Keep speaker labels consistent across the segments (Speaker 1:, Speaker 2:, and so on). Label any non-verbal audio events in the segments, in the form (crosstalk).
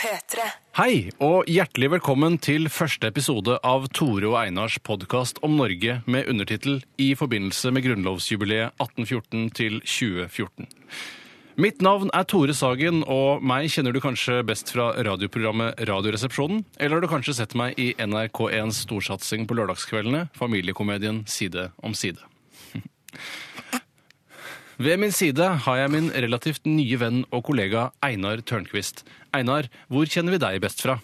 Speaker 1: P3.
Speaker 2: Hei, og hjertelig velkommen til første episode av Tore og Einars podkast om Norge med undertittel I forbindelse med grunnlovsjubileet 1814 til 2014. Mitt navn er Tore Sagen, og meg kjenner du kanskje best fra radioprogrammet Radioresepsjonen, eller har du kanskje sett meg i NRK1s storsatsing på lørdagskveldene, familiekomedien Side om side. Ved min side har jeg min relativt nye venn og kollega Einar Tørnquist. Einar, hvor kjenner vi deg best fra?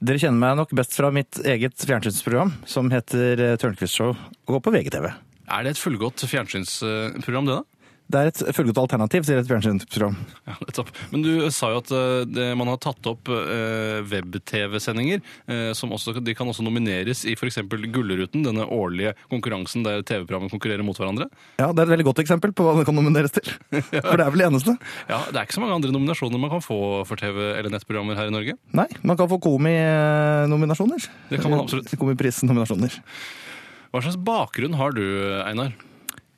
Speaker 3: Dere kjenner meg nok best fra mitt eget fjernsynsprogram som heter eh, Tørnquist Show og går på VGTV.
Speaker 2: Er det et fullgodt fjernsynsprogram, det da?
Speaker 3: Det er et fullgodt alternativ til et fjernsynsprogram.
Speaker 2: Ja, nettopp. Men du sa jo at eh, det, man har tatt opp eh, web-TV-sendinger, eh, som også, de kan også nomineres i f.eks. Gullruten, denne årlige konkurransen der TV-programmer konkurrerer mot hverandre.
Speaker 3: Ja, Det er et veldig godt eksempel på hva det kan nomineres
Speaker 2: (laughs)
Speaker 3: til. For det er vel det eneste.
Speaker 2: Ja, Det er ikke så mange andre nominasjoner man kan få for TV- eller nettprogrammer her i Norge.
Speaker 3: Nei, man kan få Komi-nominasjoner.
Speaker 2: Det kan man absolutt.
Speaker 3: Komipris-nominasjoner.
Speaker 2: Hva slags bakgrunn har du, Einar?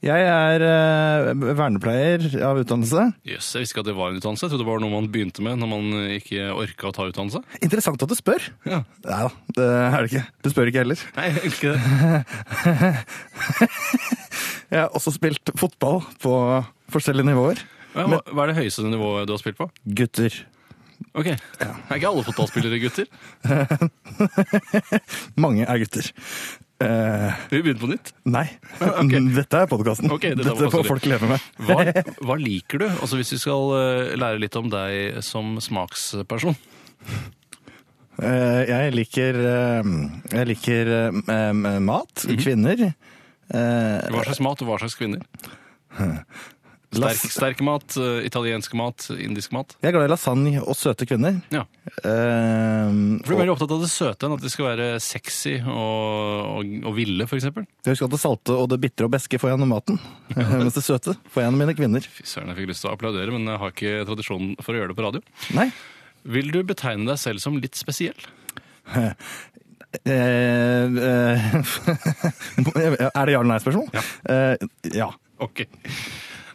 Speaker 3: Jeg er eh, vernepleier av utdannelse.
Speaker 2: Jøss, jeg visste ikke at det var en utdannelse. Jeg trodde det var noe man begynte med når man ikke orka å ta utdannelse.
Speaker 3: Interessant at du spør.
Speaker 2: Ja.
Speaker 3: Nei da, det er det ikke. Du spør ikke heller.
Speaker 2: Nei, ikke det.
Speaker 3: Jeg har også spilt fotball på forskjellige nivåer.
Speaker 2: Hva, hva er det høyeste nivået du har spilt på?
Speaker 3: Gutter.
Speaker 2: Ok, Er ikke alle fotballspillere gutter?
Speaker 3: Mange er gutter. Eh,
Speaker 2: Vi begynner på nytt. (laughs)
Speaker 3: Nei. Mm, Dette er podkasten.
Speaker 2: Ok, dette
Speaker 3: dette
Speaker 2: er podcasten.
Speaker 3: får folk leve med.
Speaker 2: Hva, hva liker du? Altså Hvis vi skal eh, lære litt om deg som smaksperson.
Speaker 3: Eh, Jeg liker, eh, jeg liker eh, eh, mat,
Speaker 2: Mhm.
Speaker 3: kvinner eh,
Speaker 2: Hva slags mat og hva slags kvinner? Sterk,
Speaker 3: las-
Speaker 2: sterk mat, eh, italiensk mat, indisk mat.
Speaker 3: Jeg er glad i lasagne og søte kvinner.
Speaker 2: Ja.
Speaker 3: Eh,
Speaker 2: For Du er
Speaker 3: og-
Speaker 2: veldig opptatt av det søte enn at det skal være sexy og, og, og ville, f.eks.
Speaker 3: Husk at det salte og det bitre og beske får jeg gjennom
Speaker 2: (laughs)
Speaker 3: maten. (laughs) Mens det søte får jeg gjennom mine kvinner.
Speaker 2: Fy søren, jeg fikk lyst til å applaudere, men jeg har ikke tradisjon for å gjøre det på radio.
Speaker 3: Nei.
Speaker 2: Vil du betegne deg selv som litt spesiell?
Speaker 3: Eh, eh, (laughs) er det ja eller nei-spørsmål?
Speaker 2: Ja.
Speaker 3: Eh, ja.
Speaker 2: Ok.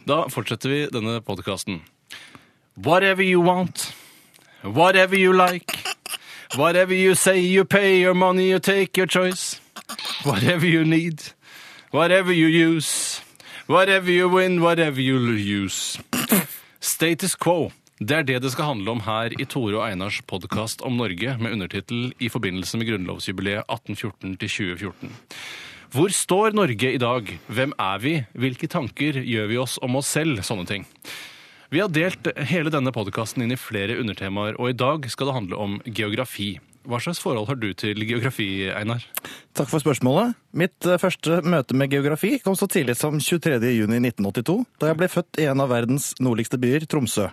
Speaker 2: Da fortsetter vi denne podkasten. Whatever you want, whatever you like, whatever you say you pay your money, you take your choice, whatever you need, whatever you use, whatever you win, whatever you use. Status quo. Det er det det skal handle om her i Tore og Einars podkast om Norge, med undertittel I forbindelse med grunnlovsjubileet 1814 til 2014. Hvor står Norge i dag? Hvem er vi? Hvilke tanker gjør vi oss om oss selv? Sånne ting. Vi har delt hele denne podkasten inn i flere undertemaer, og i dag skal det handle om geografi. Hva slags forhold har du til geografi, Einar?
Speaker 3: Takk for spørsmålet. Mitt eh, første møte med geografi kom så tidlig som 23.6.1982, da jeg ble født i en av verdens nordligste byer, Tromsø.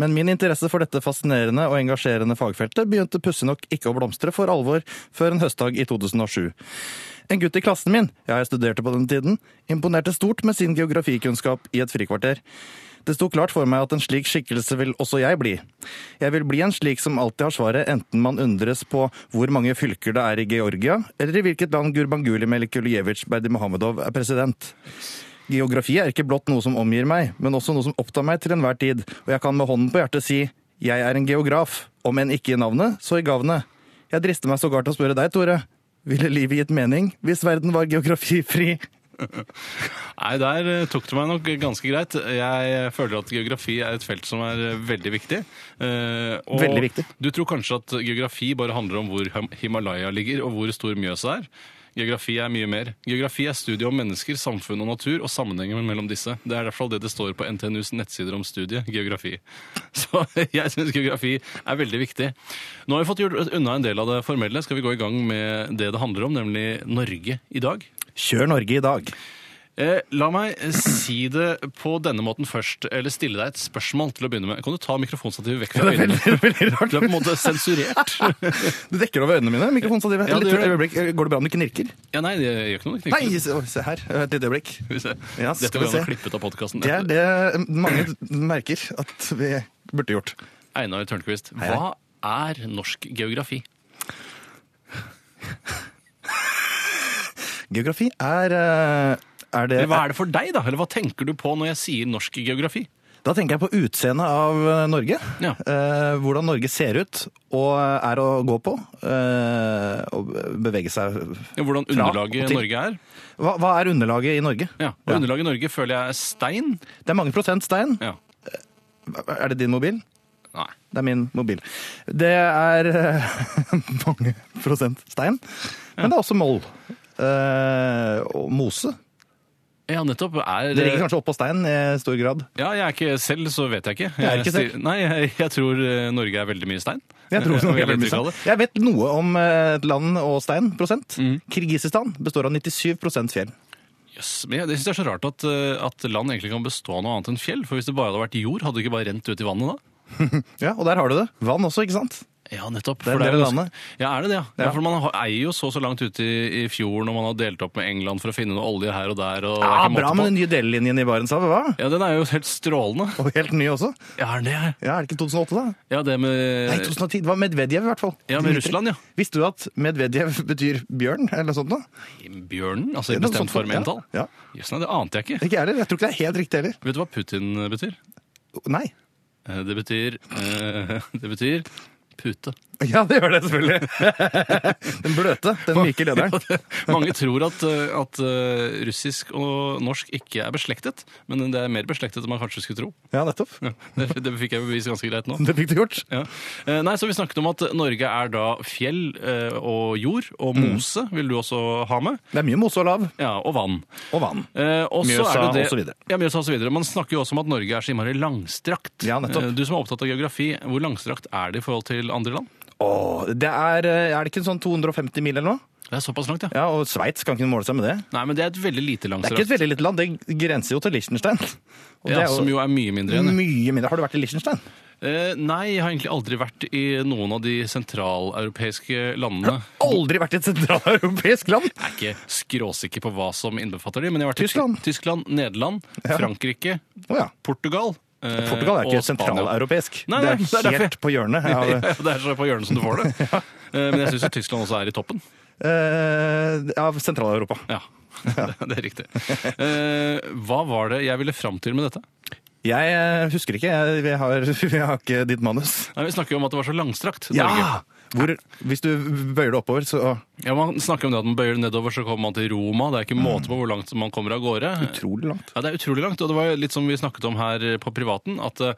Speaker 3: Men min interesse for dette fascinerende og engasjerende fagfeltet begynte pussig nok ikke å blomstre for alvor før en høstdag i 2007. En gutt i klassen min, ja, jeg studerte på den tiden, imponerte stort med sin geografikunnskap i et frikvarter. Det sto klart for meg at en slik skikkelse vil også jeg bli. Jeg vil bli en slik som alltid har svaret, enten man undres på hvor mange fylker det er i Georgia, eller i hvilket land Gurbanguly Melikuljevic Berdimuhamedov er president. Geografi er ikke blott noe som omgir meg, men også noe som opptar meg til enhver tid, og jeg kan med hånden på hjertet si jeg er en geograf, om enn ikke i navnet, så i gavnet. Jeg drister meg sågar til å spørre deg, Tore. Ville livet gitt mening hvis verden var geografifri?
Speaker 2: Nei, Der eh, tok det meg nok ganske greit. Jeg føler at geografi er et felt som er eh, veldig viktig. Eh, og
Speaker 3: Veldig viktig.
Speaker 2: Du tror kanskje at geografi bare handler om hvor Him- Himalaya ligger, og hvor stor Mjøsa er. Geografi er mye mer. Geografi er studiet om mennesker, samfunn og natur, og sammenhengen mellom disse. Det er i hvert fall det det står på NTNUs nettsider om studiet, geografi. (laughs) Så jeg syns geografi er veldig viktig. Nå har vi fått gjort unna en del av det formelle. Skal vi gå i gang med det det handler om, nemlig Norge i dag?
Speaker 3: Kjør Norge i
Speaker 2: (laughs)
Speaker 3: dag.
Speaker 2: Eh, la meg si det på denne måten først, eller stille deg et spørsmål til å begynne med. Kan du ta mikrofonstativet vekk fra øynene? Du er på en måte sensurert.
Speaker 3: (laughs) Du dekker over øynene mine. mikrofonstativet.
Speaker 2: Ja,
Speaker 3: Et
Speaker 2: det
Speaker 3: lite
Speaker 2: gjør det.
Speaker 3: øyeblikk. Går det bra om du knirker?
Speaker 2: Ja, nei, det gjør ikke noe. Det er
Speaker 3: Nei,
Speaker 2: ikke
Speaker 3: se se her. Et lite øyeblikk.
Speaker 2: noe. Hvis jeg-
Speaker 3: Ja,
Speaker 2: Dette
Speaker 3: skal
Speaker 2: går
Speaker 3: vi
Speaker 2: an å
Speaker 3: se.
Speaker 2: klippe ut av podkasten.
Speaker 3: Det er det mange merker at vi burde gjort.
Speaker 2: Einar Tørnquist,
Speaker 3: hei.
Speaker 2: hva er norsk geografi?
Speaker 3: Geografi er eh, er det,
Speaker 2: Eller hva er det for deg, da? Eller hva tenker du på når jeg sier norsk geografi?
Speaker 3: Da tenker jeg på utseendet av eh, Norge.
Speaker 2: Ja.
Speaker 3: Eh, hvordan Norge ser ut og er å gå på. eh, og bevege seg
Speaker 2: Ja, Hvordan
Speaker 3: Fra og
Speaker 2: underlaget
Speaker 3: til.
Speaker 2: Norge er.
Speaker 3: hva, hva er underlaget i Norge?
Speaker 2: Ja, og Underlaget Norge føler jeg er stein.
Speaker 3: Det er mange prosent stein.
Speaker 2: Ja.
Speaker 3: Er det din mobil?
Speaker 2: Nei.
Speaker 3: Det er min mobil. Det er eh, (laughs) mange prosent stein. Men det er også moll. Eh, og mose.
Speaker 2: Ja, nettopp. Er,
Speaker 3: Det ligger kanskje oppå stein i stor grad.
Speaker 2: Ja, jeg er ikke selv, så vet jeg ikke.
Speaker 3: Jeg er ikke selv.
Speaker 2: Nei, jeg, jeg tror eh, Norge er veldig mye stein.
Speaker 3: Jeg,
Speaker 2: Eh,
Speaker 3: tror
Speaker 2: og
Speaker 3: Norge er
Speaker 2: veldig
Speaker 3: veldig
Speaker 2: mye
Speaker 3: stein. jeg vet noe om eh, et land og stein, prosent.
Speaker 2: Mm.
Speaker 3: Kirgisistan består av 97 fjell.
Speaker 2: Jøss, men jeg, det synes jeg er så rart at, eh, at land egentlig kan bestå av noe annet enn fjell. For hvis det bare hadde vært jord, hadde det ikke bare rent ut i vannet da?
Speaker 3: Ja, Og der har du det. Vann også, ikke sant?
Speaker 2: Ja, nettopp.
Speaker 3: Det er
Speaker 2: for
Speaker 3: en del
Speaker 2: jo
Speaker 3: av
Speaker 2: ganske- Ja, er det det, ja. ja.
Speaker 3: Ja.
Speaker 2: for man har- eier jo så så langt ute i, i fjorden, og man har delt opp med England for å finne noe olje her og der. Og det er ikke
Speaker 3: Ja,
Speaker 2: måte
Speaker 3: Ah, Bra
Speaker 2: på.
Speaker 3: med den nye delelinjen i Barentshavet, hva?
Speaker 2: Ja, den er jo helt strålende.
Speaker 3: Og helt ny også.
Speaker 2: Ja, er den det her?
Speaker 3: Ja, Er det ikke 2008, da?
Speaker 2: Ja, det med
Speaker 3: Nei, 2010. Det var Medvedev, i hvert fall.
Speaker 2: Eh. Ja, med
Speaker 3: Dmitri.
Speaker 2: Russland, ja.
Speaker 3: Visste du at Medvedev (laughs) betyr bjørn, eller noe sånt? Da?
Speaker 2: bjørnen, altså i
Speaker 3: Det er noe
Speaker 2: bestemt
Speaker 3: sånt,
Speaker 2: form
Speaker 3: ja.
Speaker 2: entall.
Speaker 3: Ja.
Speaker 2: Jøss, nei, det ante jeg ikke.
Speaker 3: Ikke jeg heller. Jeg tror ikke det er helt riktig heller.
Speaker 2: Vet du hva Putin betyr?
Speaker 3: Nei. (laughs)
Speaker 2: Eh, Det betyr eh, (laughs) Det betyr pute.
Speaker 3: Ja, det gjør det selvfølgelig. (laughs) den bløte, den myke
Speaker 2: (laughs)
Speaker 3: lederen.
Speaker 2: Mange tror at, eh, at eh, russisk og norsk ikke er beslektet, men det er mer beslektet enn man kanskje skulle tro.
Speaker 3: Ja, nettopp.
Speaker 2: Ja, Det, det fikk jeg bevist ganske greit nå.
Speaker 3: Det fikk du gjort.
Speaker 2: Ja. Eh, Nei, så Vi snakket om at Norge er da fjell eh, og jord, og
Speaker 3: Mm.
Speaker 2: mose vil du også ha med.
Speaker 3: Det er mye mose og lav,
Speaker 2: Ja, Og vann.
Speaker 3: og vann.
Speaker 2: Eh, og så
Speaker 3: Mjøsa
Speaker 2: er det det-
Speaker 3: og så videre.
Speaker 2: Ja, Mjøsa og så videre. Man snakker jo også om at Norge er så innmari langstrakt.
Speaker 3: Ja, nettopp.
Speaker 2: Eh, Du som er opptatt av geografi, hvor langstrakt er det i forhold til andre land?
Speaker 3: Åh, det er, eh, er det ikke sånn 250 mil eller noe?
Speaker 2: Det er såpass langt, ja.
Speaker 3: Ja, og Sveits kan ikke måle seg med det.
Speaker 2: Nei, men det er et veldig lite
Speaker 3: Det er ikke
Speaker 2: langstrakt.
Speaker 3: et veldig lite land, det grenser jo til Liechtenstein. Og det
Speaker 2: Ja,
Speaker 3: er jo
Speaker 2: som jo er mye mindre enn
Speaker 3: mye mindre. Har du vært i Liechtenstein?
Speaker 2: Eh, nei, jeg har egentlig aldri vært i noen av de sentraleuropeiske landene.
Speaker 3: Aldri vært i et sentraleuropeisk land!
Speaker 2: Jeg er ikke skråsikker på hva som innbefatter de, men jeg har vært
Speaker 3: Tyskland.
Speaker 2: i Tyskland, Nederland, Frankrike,
Speaker 3: Å ja.
Speaker 2: Portugal eh,
Speaker 3: Portugal er ikke
Speaker 2: og Spania.
Speaker 3: sentraleuropeisk.
Speaker 2: Nei,
Speaker 3: Det
Speaker 2: nei,
Speaker 3: er
Speaker 2: det er derfor
Speaker 3: helt på hjørnet.
Speaker 2: (laughs)
Speaker 3: (laughs)
Speaker 2: Ja,
Speaker 3: av-
Speaker 2: det er så på hjørnet som du får det.
Speaker 3: (laughs)
Speaker 2: Eh, Men jeg syns Tyskland også er i toppen.
Speaker 3: eh, Av Sentral-Europa.
Speaker 2: Ja, (laughs) det er riktig. Eh, hva var det jeg ville fram til med dette?
Speaker 3: Jeg eh, husker ikke. Jeg, jeg, har, (laughs) jeg har ikke ditt manus.
Speaker 2: Nei, vi snakker jo om at det var så langstrakt. Norge.
Speaker 3: Ja! Hvor, hvis du bøyer det oppover, så
Speaker 2: Ja, Man snakker om det at man bøyer nedover, så kommer man til Roma. Det er ikke måte på hvor langt man kommer av gårde.
Speaker 3: Utrolig langt.
Speaker 2: Ja, Det er utrolig langt, og det var jo litt som vi snakket om her på privaten, at eh,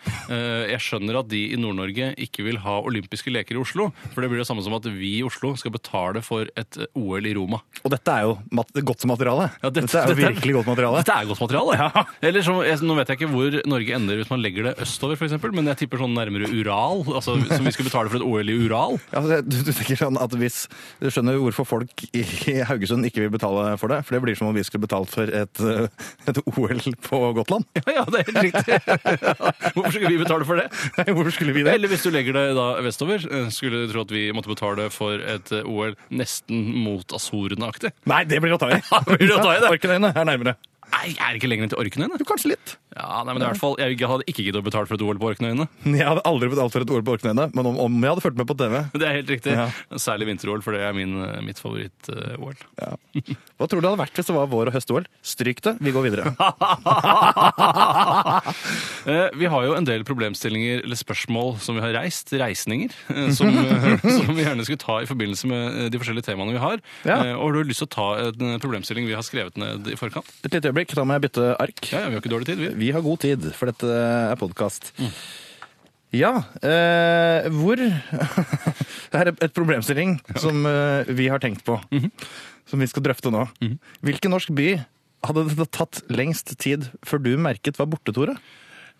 Speaker 2: jeg skjønner at de i Nord-Norge ikke vil ha olympiske leker i Oslo, for det blir det samme som at vi i Oslo skal betale for et eh, OL i Roma.
Speaker 3: Og dette er jo mat godt materiale.
Speaker 2: Ja,
Speaker 3: dette, er jo virkelig godt materiale.
Speaker 2: Dette er godt materiale. Eller så, jeg, nå vet jeg ikke hvor Norge ender hvis man legger det østover, for eksempel, men jeg tipper sånn nærmere Ural, altså som vi skulle betale for et OL i Ural.
Speaker 3: Altså, du, du tenker sånn at hvis Du skjønner jo hvorfor folk i i Haugesund ikke vil betale for det? For det blir som om vi skulle betalt for et, eh, et OL på Gotland.
Speaker 2: Ja, (laughs) ja, det er helt riktig. (laughs) Hvorfor skulle vi betale for det?
Speaker 3: (laughs) Nei, Hvorfor skulle vi det?
Speaker 2: Eller hvis du legger det da vestover, eh, skulle du tro at vi måtte betale for et eh, OL nesten mot Azorene-aktig.
Speaker 3: Nei, det blir å (laughs) ta i.
Speaker 2: det blir å ta i, det.
Speaker 3: Orkenøyene er nærmere.
Speaker 2: Nei, er det ikke lenger enn til Orknøyene?
Speaker 3: Jo, kanskje litt.
Speaker 2: Ja, nei, men i hvert fall, Jeg hadde ikke giddet å betale for et OL på Orknøyene.
Speaker 3: Jeg hadde aldri betalt for et OL på Orkenøyene, men om, om jeg hadde fulgt med på TV
Speaker 2: (laughs) Det er helt riktig.
Speaker 3: Ja.
Speaker 2: Særlig vinter-OL, for det er min, eh, mitt favoritt-OL.
Speaker 3: Hva tror du det hadde vært hvis det var vår- og høst-OL? Stryk det, vi går (laughs) videre.
Speaker 2: Eh, Vi har jo en del problemstillinger eller spørsmål som vi har reist, reisninger, eh, som, eh, (laughs) som vi gjerne skulle ta i forbindelse med eh, de forskjellige temaene vi har.
Speaker 3: Ja.
Speaker 2: Eh, Og har du lyst til å ta en eh, problemstilling vi har skrevet ned i forkant?
Speaker 3: Et lite øyeblikk, da må jeg bytte ark.
Speaker 2: Ja, ja, vi har ikke dårlig tid, vi.
Speaker 3: Vi har god tid, for dette er podkast. Ja, eh, hvor (laughs) Det her er et problemstilling som eh, vi har tenkt på. Som vi skal drøfte nå. Hvilken norsk by hadde det tatt lengst tid før du merket var borte, Tore?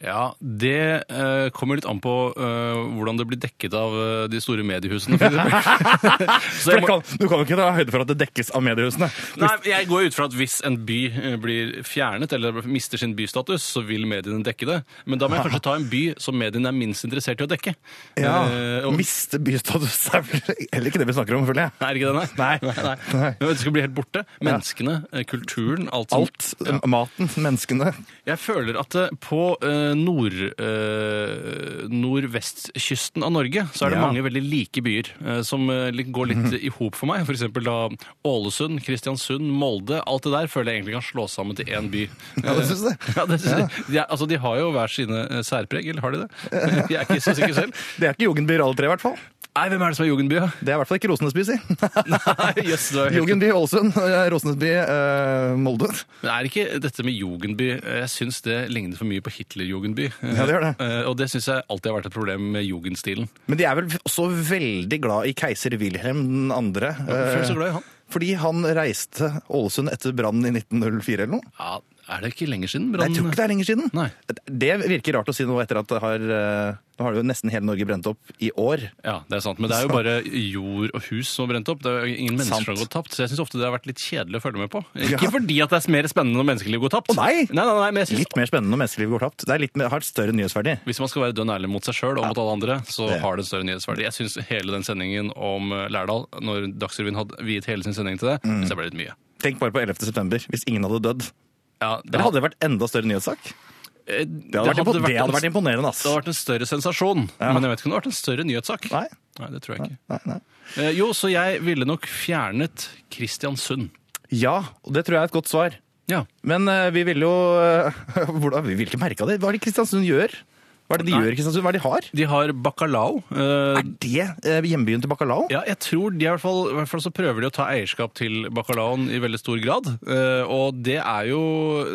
Speaker 2: Ja, Det eh, kommer litt an på eh, hvordan det blir dekket av eh, de store mediehusene. (laughs) For eksempel. Så
Speaker 3: For
Speaker 2: jeg
Speaker 3: det
Speaker 2: må-
Speaker 3: kan, du kan jo ikke ta høyde for at det dekkes av mediehusene.
Speaker 2: Nei, jeg går ut fra at hvis en by eh, blir fjernet eller mister sin bystatus, så vil mediene dekke det. Men da må
Speaker 3: (laughs)
Speaker 2: jeg kanskje ta en by som mediene er minst interessert i å dekke. Eh,
Speaker 3: Ja,
Speaker 2: og,
Speaker 3: Miste bystatus er vel heller ikke det vi snakker om, føler jeg.
Speaker 2: er det ikke det, nei?
Speaker 3: Nei.
Speaker 2: (laughs) nei. Men Det skal bli helt borte. Menneskene, eh, kulturen, alt. som-
Speaker 3: Alt. Maten, menneskene.
Speaker 2: Jeg føler at eh, på eh, eh, nord, eh, nordvestkysten av Norge, så er det
Speaker 3: Ja. Mhm.
Speaker 2: mange veldig like byer eh, som eh, li- går litt i hop for meg. For eksempel da Ålesund, Kristiansund, Molde. Alt det der føler jeg egentlig kan slås sammen til én by.
Speaker 3: (laughs) Ja, det syns jeg.
Speaker 2: (laughs) Ja, det, de, er- altså, de har jo hver sine eh, særpreg, eller har de det? (laughs) Jeg er ikke så sikker selv.
Speaker 3: Det er ikke jugendbyer alle tre, i hvert fall.
Speaker 2: Nei, hvem er det som er Jugendby?
Speaker 3: (laughs)
Speaker 2: da?
Speaker 3: Det er i hvert fall ikke Rosenesby, si.
Speaker 2: Nei, jøss, det var helt-
Speaker 3: Jugendby Ålesund, eh, Rosenesby eh, Molde.
Speaker 2: Men er ikke dette med jugendby Jeg syns det ligner for mye på Hitler-jugendby.
Speaker 3: Ja, det gjør det.
Speaker 2: Eh, Og det syns jeg alltid har vært et problem med jugendstilen.
Speaker 3: Men de er vel også veldig glad i keiser Wilhelm den andre.
Speaker 2: hvorfor er de så
Speaker 3: eh,
Speaker 2: glad i han?
Speaker 3: Fordi han reiste Ålesund etter brannen i 1904 eller noe.
Speaker 2: Ja, Er det ikke lenger siden?
Speaker 3: Nei, Jeg tror ikke det er lenger siden.
Speaker 2: Nei.
Speaker 3: Det virker rart å si noe etter at det har eh, Nå har det jo nesten hele Norge brent opp i år.
Speaker 2: Ja, det er sant. Men det er jo bare jord og hus som har brent opp. Det er jo Ingen mennesker
Speaker 3: Sant.
Speaker 2: som har gått tapt. Så jeg syns ofte det har vært litt kjedelig å følge med på.
Speaker 3: Ja.
Speaker 2: Ikke fordi at det er mer spennende når menneskeliv går tapt.
Speaker 3: Å, nei!
Speaker 2: Nei, nei, nei, men jeg synes
Speaker 3: Litt mer spennende når menneskelivet går tapt. Det er litt mer, har et større nyhetsverdi.
Speaker 2: Hvis man skal være dønn ærlig mot seg sjøl og mot alle andre, så
Speaker 3: Det-
Speaker 2: har det en større nyhetsverdi. Jeg syns hele den sendingen om eh, Lærdal, når Dagsrevyen hadde viet hele sin sending til det,
Speaker 3: Mm.
Speaker 2: synes jeg ble litt mye.
Speaker 3: Tenk bare på 11. september, hvis ingen hadde dødd.
Speaker 2: Ja, det,
Speaker 3: Eller hadde det vært enda større nyhetssak?
Speaker 2: eh,
Speaker 3: Det hadde, vært, impo- det hadde vært
Speaker 2: en,
Speaker 3: imponerende, ass.
Speaker 2: det hadde vært en større sensasjon, men jeg vet ikke om det hadde vært en større nyhetssak.
Speaker 3: Nei,
Speaker 2: det tror jeg ikke.
Speaker 3: nei, nei.
Speaker 2: Eh, jo, så jeg ville nok fjernet Kristiansund.
Speaker 3: Ja, og det tror jeg er et godt svar.
Speaker 2: Ja.
Speaker 3: Men eh, vi ville jo eh, (laughs) hvordan, Vi ville ikke merka det. Hva er det Kristiansund gjør? Hva er det de
Speaker 2: Nei.
Speaker 3: gjør i Kristiansund? Hva er det de har?
Speaker 2: De har bacalao. eh,
Speaker 3: Er det eh, hjembyen til Bacalao?
Speaker 2: Ja, jeg tror de i hvert fall, i hvert fall så prøver de å ta eierskap til bacalaoen i veldig stor grad. Eh, og det er jo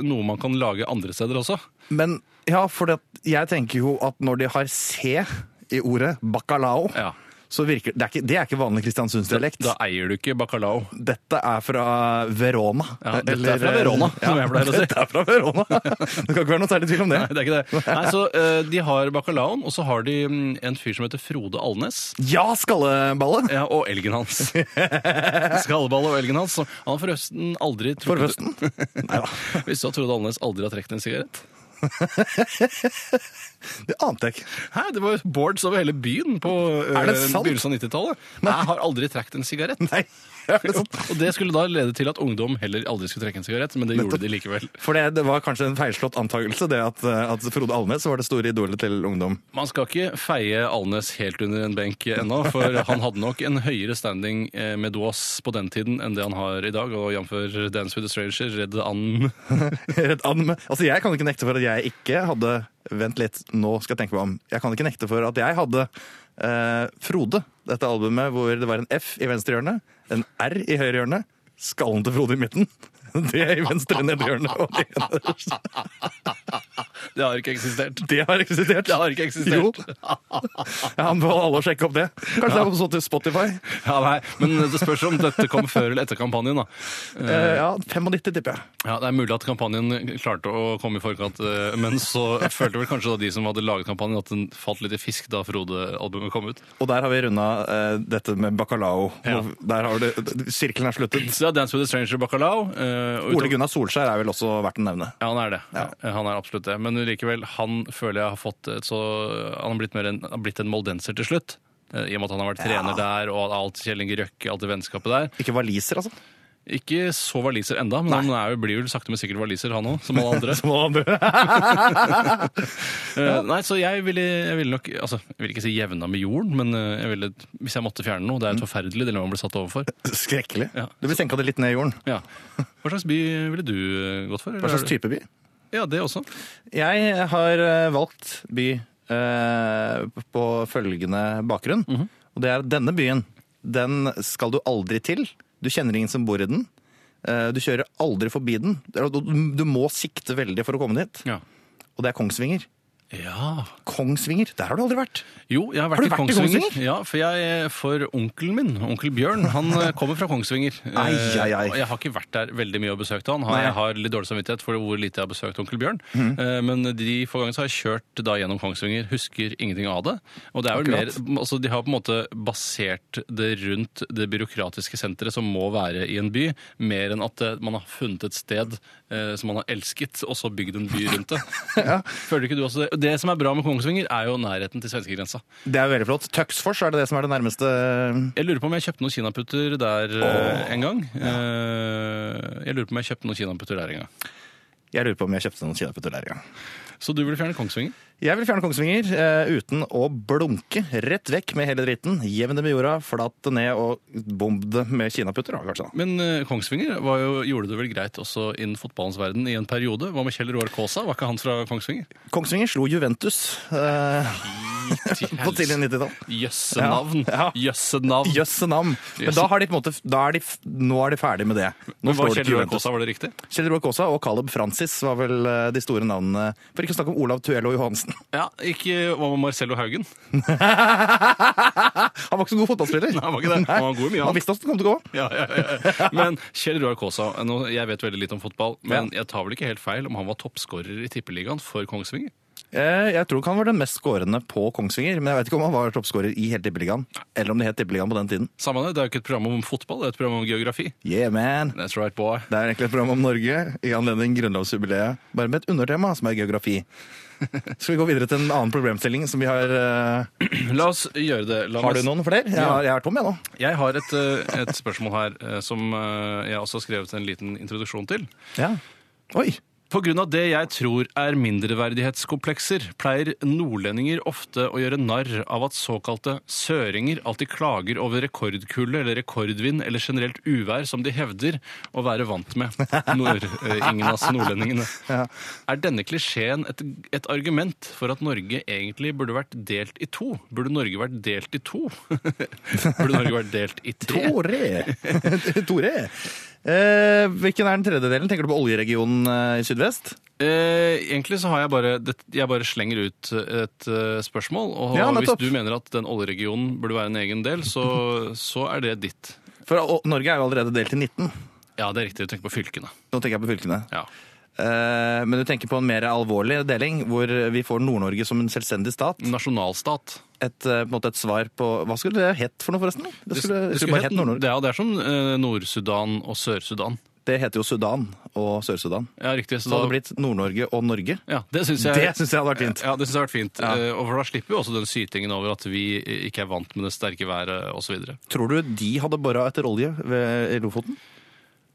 Speaker 2: noe man kan lage andre steder også.
Speaker 3: Men ja, for det, at jeg tenker jo at når de har C i ordet Bacalao,
Speaker 2: Ja.
Speaker 3: så virker det er ikke, det er ikke vanlig kristiansundsdialekt.
Speaker 2: Da eier du ikke bacalao. (laughs)
Speaker 3: Dette er fra Verona. Eh,
Speaker 2: Ja, dette er fra Verona, som jeg pleier å si.
Speaker 3: Dette er fra
Speaker 2: (laughs)
Speaker 3: Verona. Det skal ikke være noe særlig tvil om det.
Speaker 2: Nei, det er ikke det. Nei, så eh, De har bacalaoen, og så har de mm, en fyr som heter Frode Alnes.
Speaker 3: Ja, skalleballe!
Speaker 2: Ja, og elgen
Speaker 3: (laughs)
Speaker 2: hans. Skalleballe og elgen hans. som- Han har forresten aldri
Speaker 3: For
Speaker 2: trukket
Speaker 3: høsten. Nei da.
Speaker 2: Visste du at Frode Alnes aldri har trukket en sigarett?
Speaker 3: Det ante jeg ikke.
Speaker 2: Hæ, det var jo boards over hele byen på eh,
Speaker 3: Er det sant?
Speaker 2: begynnelsen av 90-tallet. Nei, Jeg har aldri trukket en sigarett.
Speaker 3: Nei, er
Speaker 2: (laughs)
Speaker 3: det sant?
Speaker 2: Og det skulle da lede til at ungdom heller aldri skulle trekke en sigarett, men det gjorde de likevel.
Speaker 3: For det, det var kanskje en feilslått antakelse, det at, eh, at Frode Alnes var det store idolet til ungdom.
Speaker 2: Man skal ikke feie Alnes helt under en benk ennå, for han hadde nok en høyere standing eh, med dås på den tiden enn det han har i dag, og jf. Dance with a Stranger, Redd Anden
Speaker 3: (laughs) Rett an med- altså, jeg kan ikke nekte for at jeg ikke hadde Vent litt, nå skal jeg tenke meg om. Jeg kan ikke nekte for at jeg hadde eh, Frode, dette albumet hvor det var en F i venstre hjørne, en R i høyre hjørne, skallen til Frode i midten. (laughs) Det i venstre nedre hjørne. Og det, nederste.
Speaker 2: (laughs) Det har ikke eksistert.
Speaker 3: det har eksistert.
Speaker 2: Det har ikke
Speaker 3: Jo.
Speaker 2: eksistert.
Speaker 3: Jeg anbefaler alle å sjekke opp det. Kanskje det er også til Spotify.
Speaker 2: Ja, nei, Men det spørs om dette kom før eller etter kampanjen. da.
Speaker 3: Eh, ja, 95, tipper jeg.
Speaker 2: Ja, Det er mulig at kampanjen klarte å komme i forkant, eh, men så følte vel kanskje da de som hadde laget kampanjen, at den falt litt i fisk da Frode-albumet kom ut.
Speaker 3: Og der har vi runda eh, dette med bacalao.
Speaker 2: Ja.
Speaker 3: Og Der har det, d- Sirkelen er sluttet.
Speaker 2: Så ja, Dance with a Stranger Bacalao. eh, og utover-
Speaker 3: Ole Gunnar Solskjær er vel også verdt å nevne.
Speaker 2: Ja, han er det. Han er absolutt det. Men likevel, han føler jeg har fått et så Han har blitt, mer en, han har blitt en moldenser til slutt. eh, I og med at han har vært trener der, og alt Kjell Inge Røkke, alt det vennskapet der.
Speaker 3: Ikke valiser, (laughs) altså.
Speaker 2: Ikke så valiser enda, men han er jo, blir vel sakte, men sikkert valiser, han òg, som alle
Speaker 3: (laughs)
Speaker 2: andre.
Speaker 3: Som alle andre.
Speaker 2: Eh, Nei, så jeg ville, jeg ville nok altså, Jeg vil ikke si jevna med jorden, men eh, jeg ville, hvis jeg måtte fjerne noe Det er
Speaker 3: Mm.
Speaker 2: et forferdelig dilemma man blir satt overfor.
Speaker 3: Skrekkelig.
Speaker 2: Ja.
Speaker 3: Du blir senka det litt ned i jorden. (laughs)
Speaker 2: Ja. Hva slags by ville du eh, gått for?
Speaker 3: Hva
Speaker 2: Eller
Speaker 3: slags
Speaker 2: er
Speaker 3: type by?
Speaker 2: det- Ja, det også.
Speaker 3: Jeg har eh, valgt by eh, på følgende bakgrunn. Og det er at denne byen, den skal du aldri til. Du kjenner ingen som bor i den. Eh, du kjører aldri forbi den. Eller, Du du må sikte veldig for å komme dit.
Speaker 2: Ja.
Speaker 3: Og det er Kongsvinger.
Speaker 2: ja.
Speaker 3: Kongsvinger, der har du aldri vært.
Speaker 2: Jo, jeg har vært,
Speaker 3: Har du
Speaker 2: i
Speaker 3: vært i
Speaker 2: Kongsvinger.
Speaker 3: Kongsvinger?
Speaker 2: Ja, for, jeg, eh, for onkelen min, onkel Bjørn, han
Speaker 3: (laughs)
Speaker 2: eh, kommer fra Kongsvinger. Eh,
Speaker 3: Ai, ai, ai.
Speaker 2: og Jeg har ikke vært der veldig mye og besøkt han. Han-
Speaker 3: Nei. Mhm.
Speaker 2: Jeg har litt dårlig samvittighet for hvor lite jeg har besøkt onkel Bjørn. Eh, Men de få gangene så har jeg kjørt da gjennom Kongsvinger, husker ingenting av det. Og det er vel
Speaker 3: Akkurat.
Speaker 2: mer, altså De har på en måte basert det rundt det byråkratiske senteret som må være i en by, mer enn at eh, man har funnet et sted eh, som man har elsket, og så bygd en by rundt
Speaker 3: (laughs)
Speaker 2: det. Føler ikke du også det? Det som er bra med Kongsvinger, er jo nærheten til svenskegrensa.
Speaker 3: Det er veldig flott. Tøxfors er det det som er det nærmeste
Speaker 2: Jeg lurer på om jeg kjøpte noen kinaputter der eh, en gang. Eh, Jeg lurer på om jeg kjøpte noen kinaputter der en gang.
Speaker 3: Jeg lurer på om jeg kjøpte noen kinaputter der en gang.
Speaker 2: Så du vil fjerne Kongsvinger?
Speaker 3: Jeg vil fjerne Kongsvinger eh, uten å blunke. Rett vekk med hele dritten. Jevn det med jorda, flat det ned og bomb det med kinaputter, da, kanskje. da.
Speaker 2: Men eh, Kongsvinger var jo, gjorde det vel greit også innen fotballens verden i en periode. Hva med Kjell Roar Kaasa? Var ikke han fra Kongsvinger?
Speaker 3: Kongsvinger slo Juventus eh, (laughs) på tidlig 90-tall.
Speaker 2: Jøsse navn!
Speaker 3: Ja.
Speaker 2: Jøsse navn!
Speaker 3: Jøsse navn. Men
Speaker 2: Jøsse.
Speaker 3: da har de på en måte, da er de, f- nå er de ferdig med det. Nå
Speaker 2: Men var
Speaker 3: slår de
Speaker 2: Kjell
Speaker 3: ikke
Speaker 2: Roar
Speaker 3: Juventus.
Speaker 2: Kaasa, var det riktig?
Speaker 3: Kjell Roar Kaasa og Caleb Francis var vel eh, de store navnene. For ikke å snakke om Olav Tuello Johansen. (laughs)
Speaker 2: Ja, ikke hva med Marcello Haugen? (laughs)
Speaker 3: han var ikke så god fotballspiller.
Speaker 2: Nei, han var ikke det. Han var god i mye
Speaker 3: Han
Speaker 2: annet.
Speaker 3: visste hvordan det kom til å gå.
Speaker 2: Ja, ja, ja. Men Kjell Roar Kaasa, nå- jeg vet veldig litt om fotball, men jeg tar vel ikke helt feil om han var toppskårer i Tippeligaen for Kongsvinger?
Speaker 3: Eh, Jeg tror ikke han var den mest skårende på Kongsvinger, men jeg vet ikke om han var toppskårer i hele Tippeligaen. Eller om det het Tippeligaen på den tiden.
Speaker 2: Samme det, det er jo ikke et program om fotball, det er et program om geografi.
Speaker 3: Yeah, man!
Speaker 2: That's right, boy.
Speaker 3: Det er egentlig et program om Norge i anledning grunnlovsjubileet, bare med et undertema, som er geografi. Skal vi gå videre til en annen problemstilling som vi har eh,
Speaker 2: (clears throat) La oss gjøre det. La
Speaker 3: Har
Speaker 2: meg-
Speaker 3: du noen flere? Jeg har, jeg har tom, jeg nå.
Speaker 2: Jeg har et, eh, et spørsmål her eh, som eh, jeg også har skrevet en liten introduksjon til.
Speaker 3: Ja. Oi!
Speaker 2: På grunn av det jeg tror er mindreverdighetskomplekser, pleier nordlendinger ofte å gjøre narr av at såkalte søringer alltid klager over rekordkulde eller rekordvind eller generelt uvær som de hevder å være vant med. Nord, eh, ingen av oss nordlendingene. Er denne klisjeen et, et argument for at Norge egentlig burde vært delt i to? Burde Norge vært delt i to? (laughs) burde Norge vært delt i tre?
Speaker 3: Tore! (laughs) Tore! Eh, hvilken er den tredje delen? Tenker du på oljeregionen eh, i sydvest?
Speaker 2: Eh, egentlig så har jeg bare det, Jeg bare slenger ut et eh, spørsmål. Og
Speaker 3: Ja,
Speaker 2: hvis
Speaker 3: nettopp.
Speaker 2: du mener at den oljeregionen burde være en egen del, så, så er det ditt.
Speaker 3: For å, Norge er jo allerede delt i 19.
Speaker 2: Ja, det er riktig. Du tenker på fylkene.
Speaker 3: Nå tenker jeg på fylkene.
Speaker 2: Ja.
Speaker 3: Eh, men du tenker på en mer alvorlig deling, hvor vi får Nord-Norge som en selvstendig stat.
Speaker 2: Nasjonalstat.
Speaker 3: Et, eh, på en måte et svar på Hva skulle det hett for noe, forresten? Det skulle, det skulle bare hett Nord-Norge.
Speaker 2: det, ja, det er som eh, Nord-Sudan og Sør-Sudan.
Speaker 3: Det heter jo Sudan og Sør-Sudan.
Speaker 2: Ja, riktig.
Speaker 3: Så hadde det blitt Nord-Norge og Norge.
Speaker 2: ja, det syns jeg,
Speaker 3: Det syns jeg hadde vært fint.
Speaker 2: Ja, det synes jeg har vært fint. Eh, og for Da slipper vi også den sytingen over at vi ikke er vant med det sterke været osv.
Speaker 3: Tror du de hadde bora etter olje ved i Lofoten?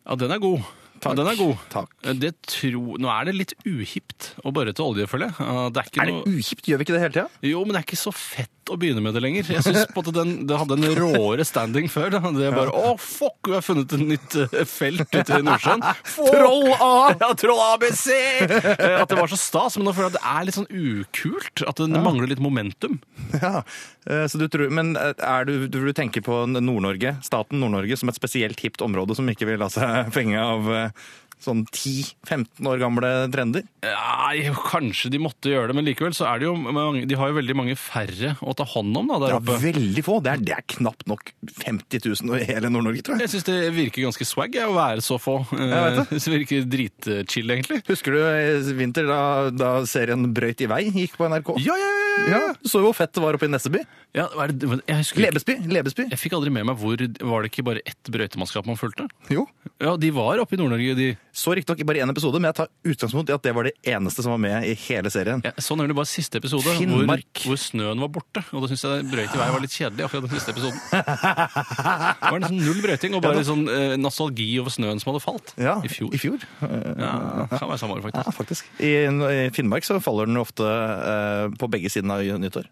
Speaker 2: Ja, den er god. Ja, den er god.
Speaker 3: Takk.
Speaker 2: Eh, Det tro... Nå er det litt uhipt å bore etter olje, føler jeg. Ja, Det er ikke
Speaker 3: Er det
Speaker 2: noe...
Speaker 3: uhipt? Gjør vi ikke det hele tida?
Speaker 2: Jo, men det er ikke så fett å begynne med det lenger. Jeg synes på at den, Det hadde en råere standing før. Da. Det er bare Å, fuck, vi har funnet et nytt eh, felt ute i Nordsjøen.
Speaker 3: Troll (laughs) A!
Speaker 2: Ja, troll ABC! Eh, At det var så stas. Men nå føler jeg at det er litt sånn ukult. At det mangler litt momentum.
Speaker 3: (laughs) Ja. eh, Så du tror, men eh, er du, du, du tenker på Nord-Norge, staten Nord-Norge som et spesielt hipt område som ikke vil la seg (laughs) fenge av eh, sånn 10-15 år gamle trender?
Speaker 2: Nei, kanskje de måtte gjøre det, men likevel så er det jo mange, De har jo veldig mange færre å ta hånd om da, der
Speaker 3: Ja,
Speaker 2: oppe.
Speaker 3: veldig få. Det er, det er knapt nok 50 000 i hele Nord-Norge, tror jeg.
Speaker 2: Jeg syns det virker ganske swag jeg, å være så få.
Speaker 3: vet det.
Speaker 2: Eh, (laughs) Det virker dritchill, egentlig.
Speaker 3: Husker du i vinter da, da serien Brøyt i vei gikk på NRK?
Speaker 2: Ja, ja,
Speaker 3: Ja, Du så jo hvor fett det var oppe i Nesseby.
Speaker 2: ja hva er det, men jeg, husker, ikke-
Speaker 3: Lebesby. Lebesby.
Speaker 2: jeg fikk aldri med meg hvor Var det ikke bare ett brøytemannskap man fulgte?
Speaker 3: Jo.
Speaker 2: Ja, de var oppe i Nord-Norge. De,
Speaker 3: Så riktignok i bare én episode, men jeg tar utgangspunkt i at det var det eneste som var med i hele serien.
Speaker 2: jeg så nemlig bare siste episode, hvor,
Speaker 3: Finnmark.
Speaker 2: hvor snøen var borte. Og da syns jeg brøyt i vei var litt kjedelig. akkurat den siste
Speaker 3: (laughs)
Speaker 2: episoden. Det var nesten null brøyting og bare litt sånn eh, nostalgi over snøen som hadde falt
Speaker 3: Ja,
Speaker 2: i fjor.
Speaker 3: I fjor.
Speaker 2: Ja, det kan være samme år, faktisk.
Speaker 3: Ja, faktisk. I, I Finnmark så faller den jo ofte eh, på begge sidene av nyttår.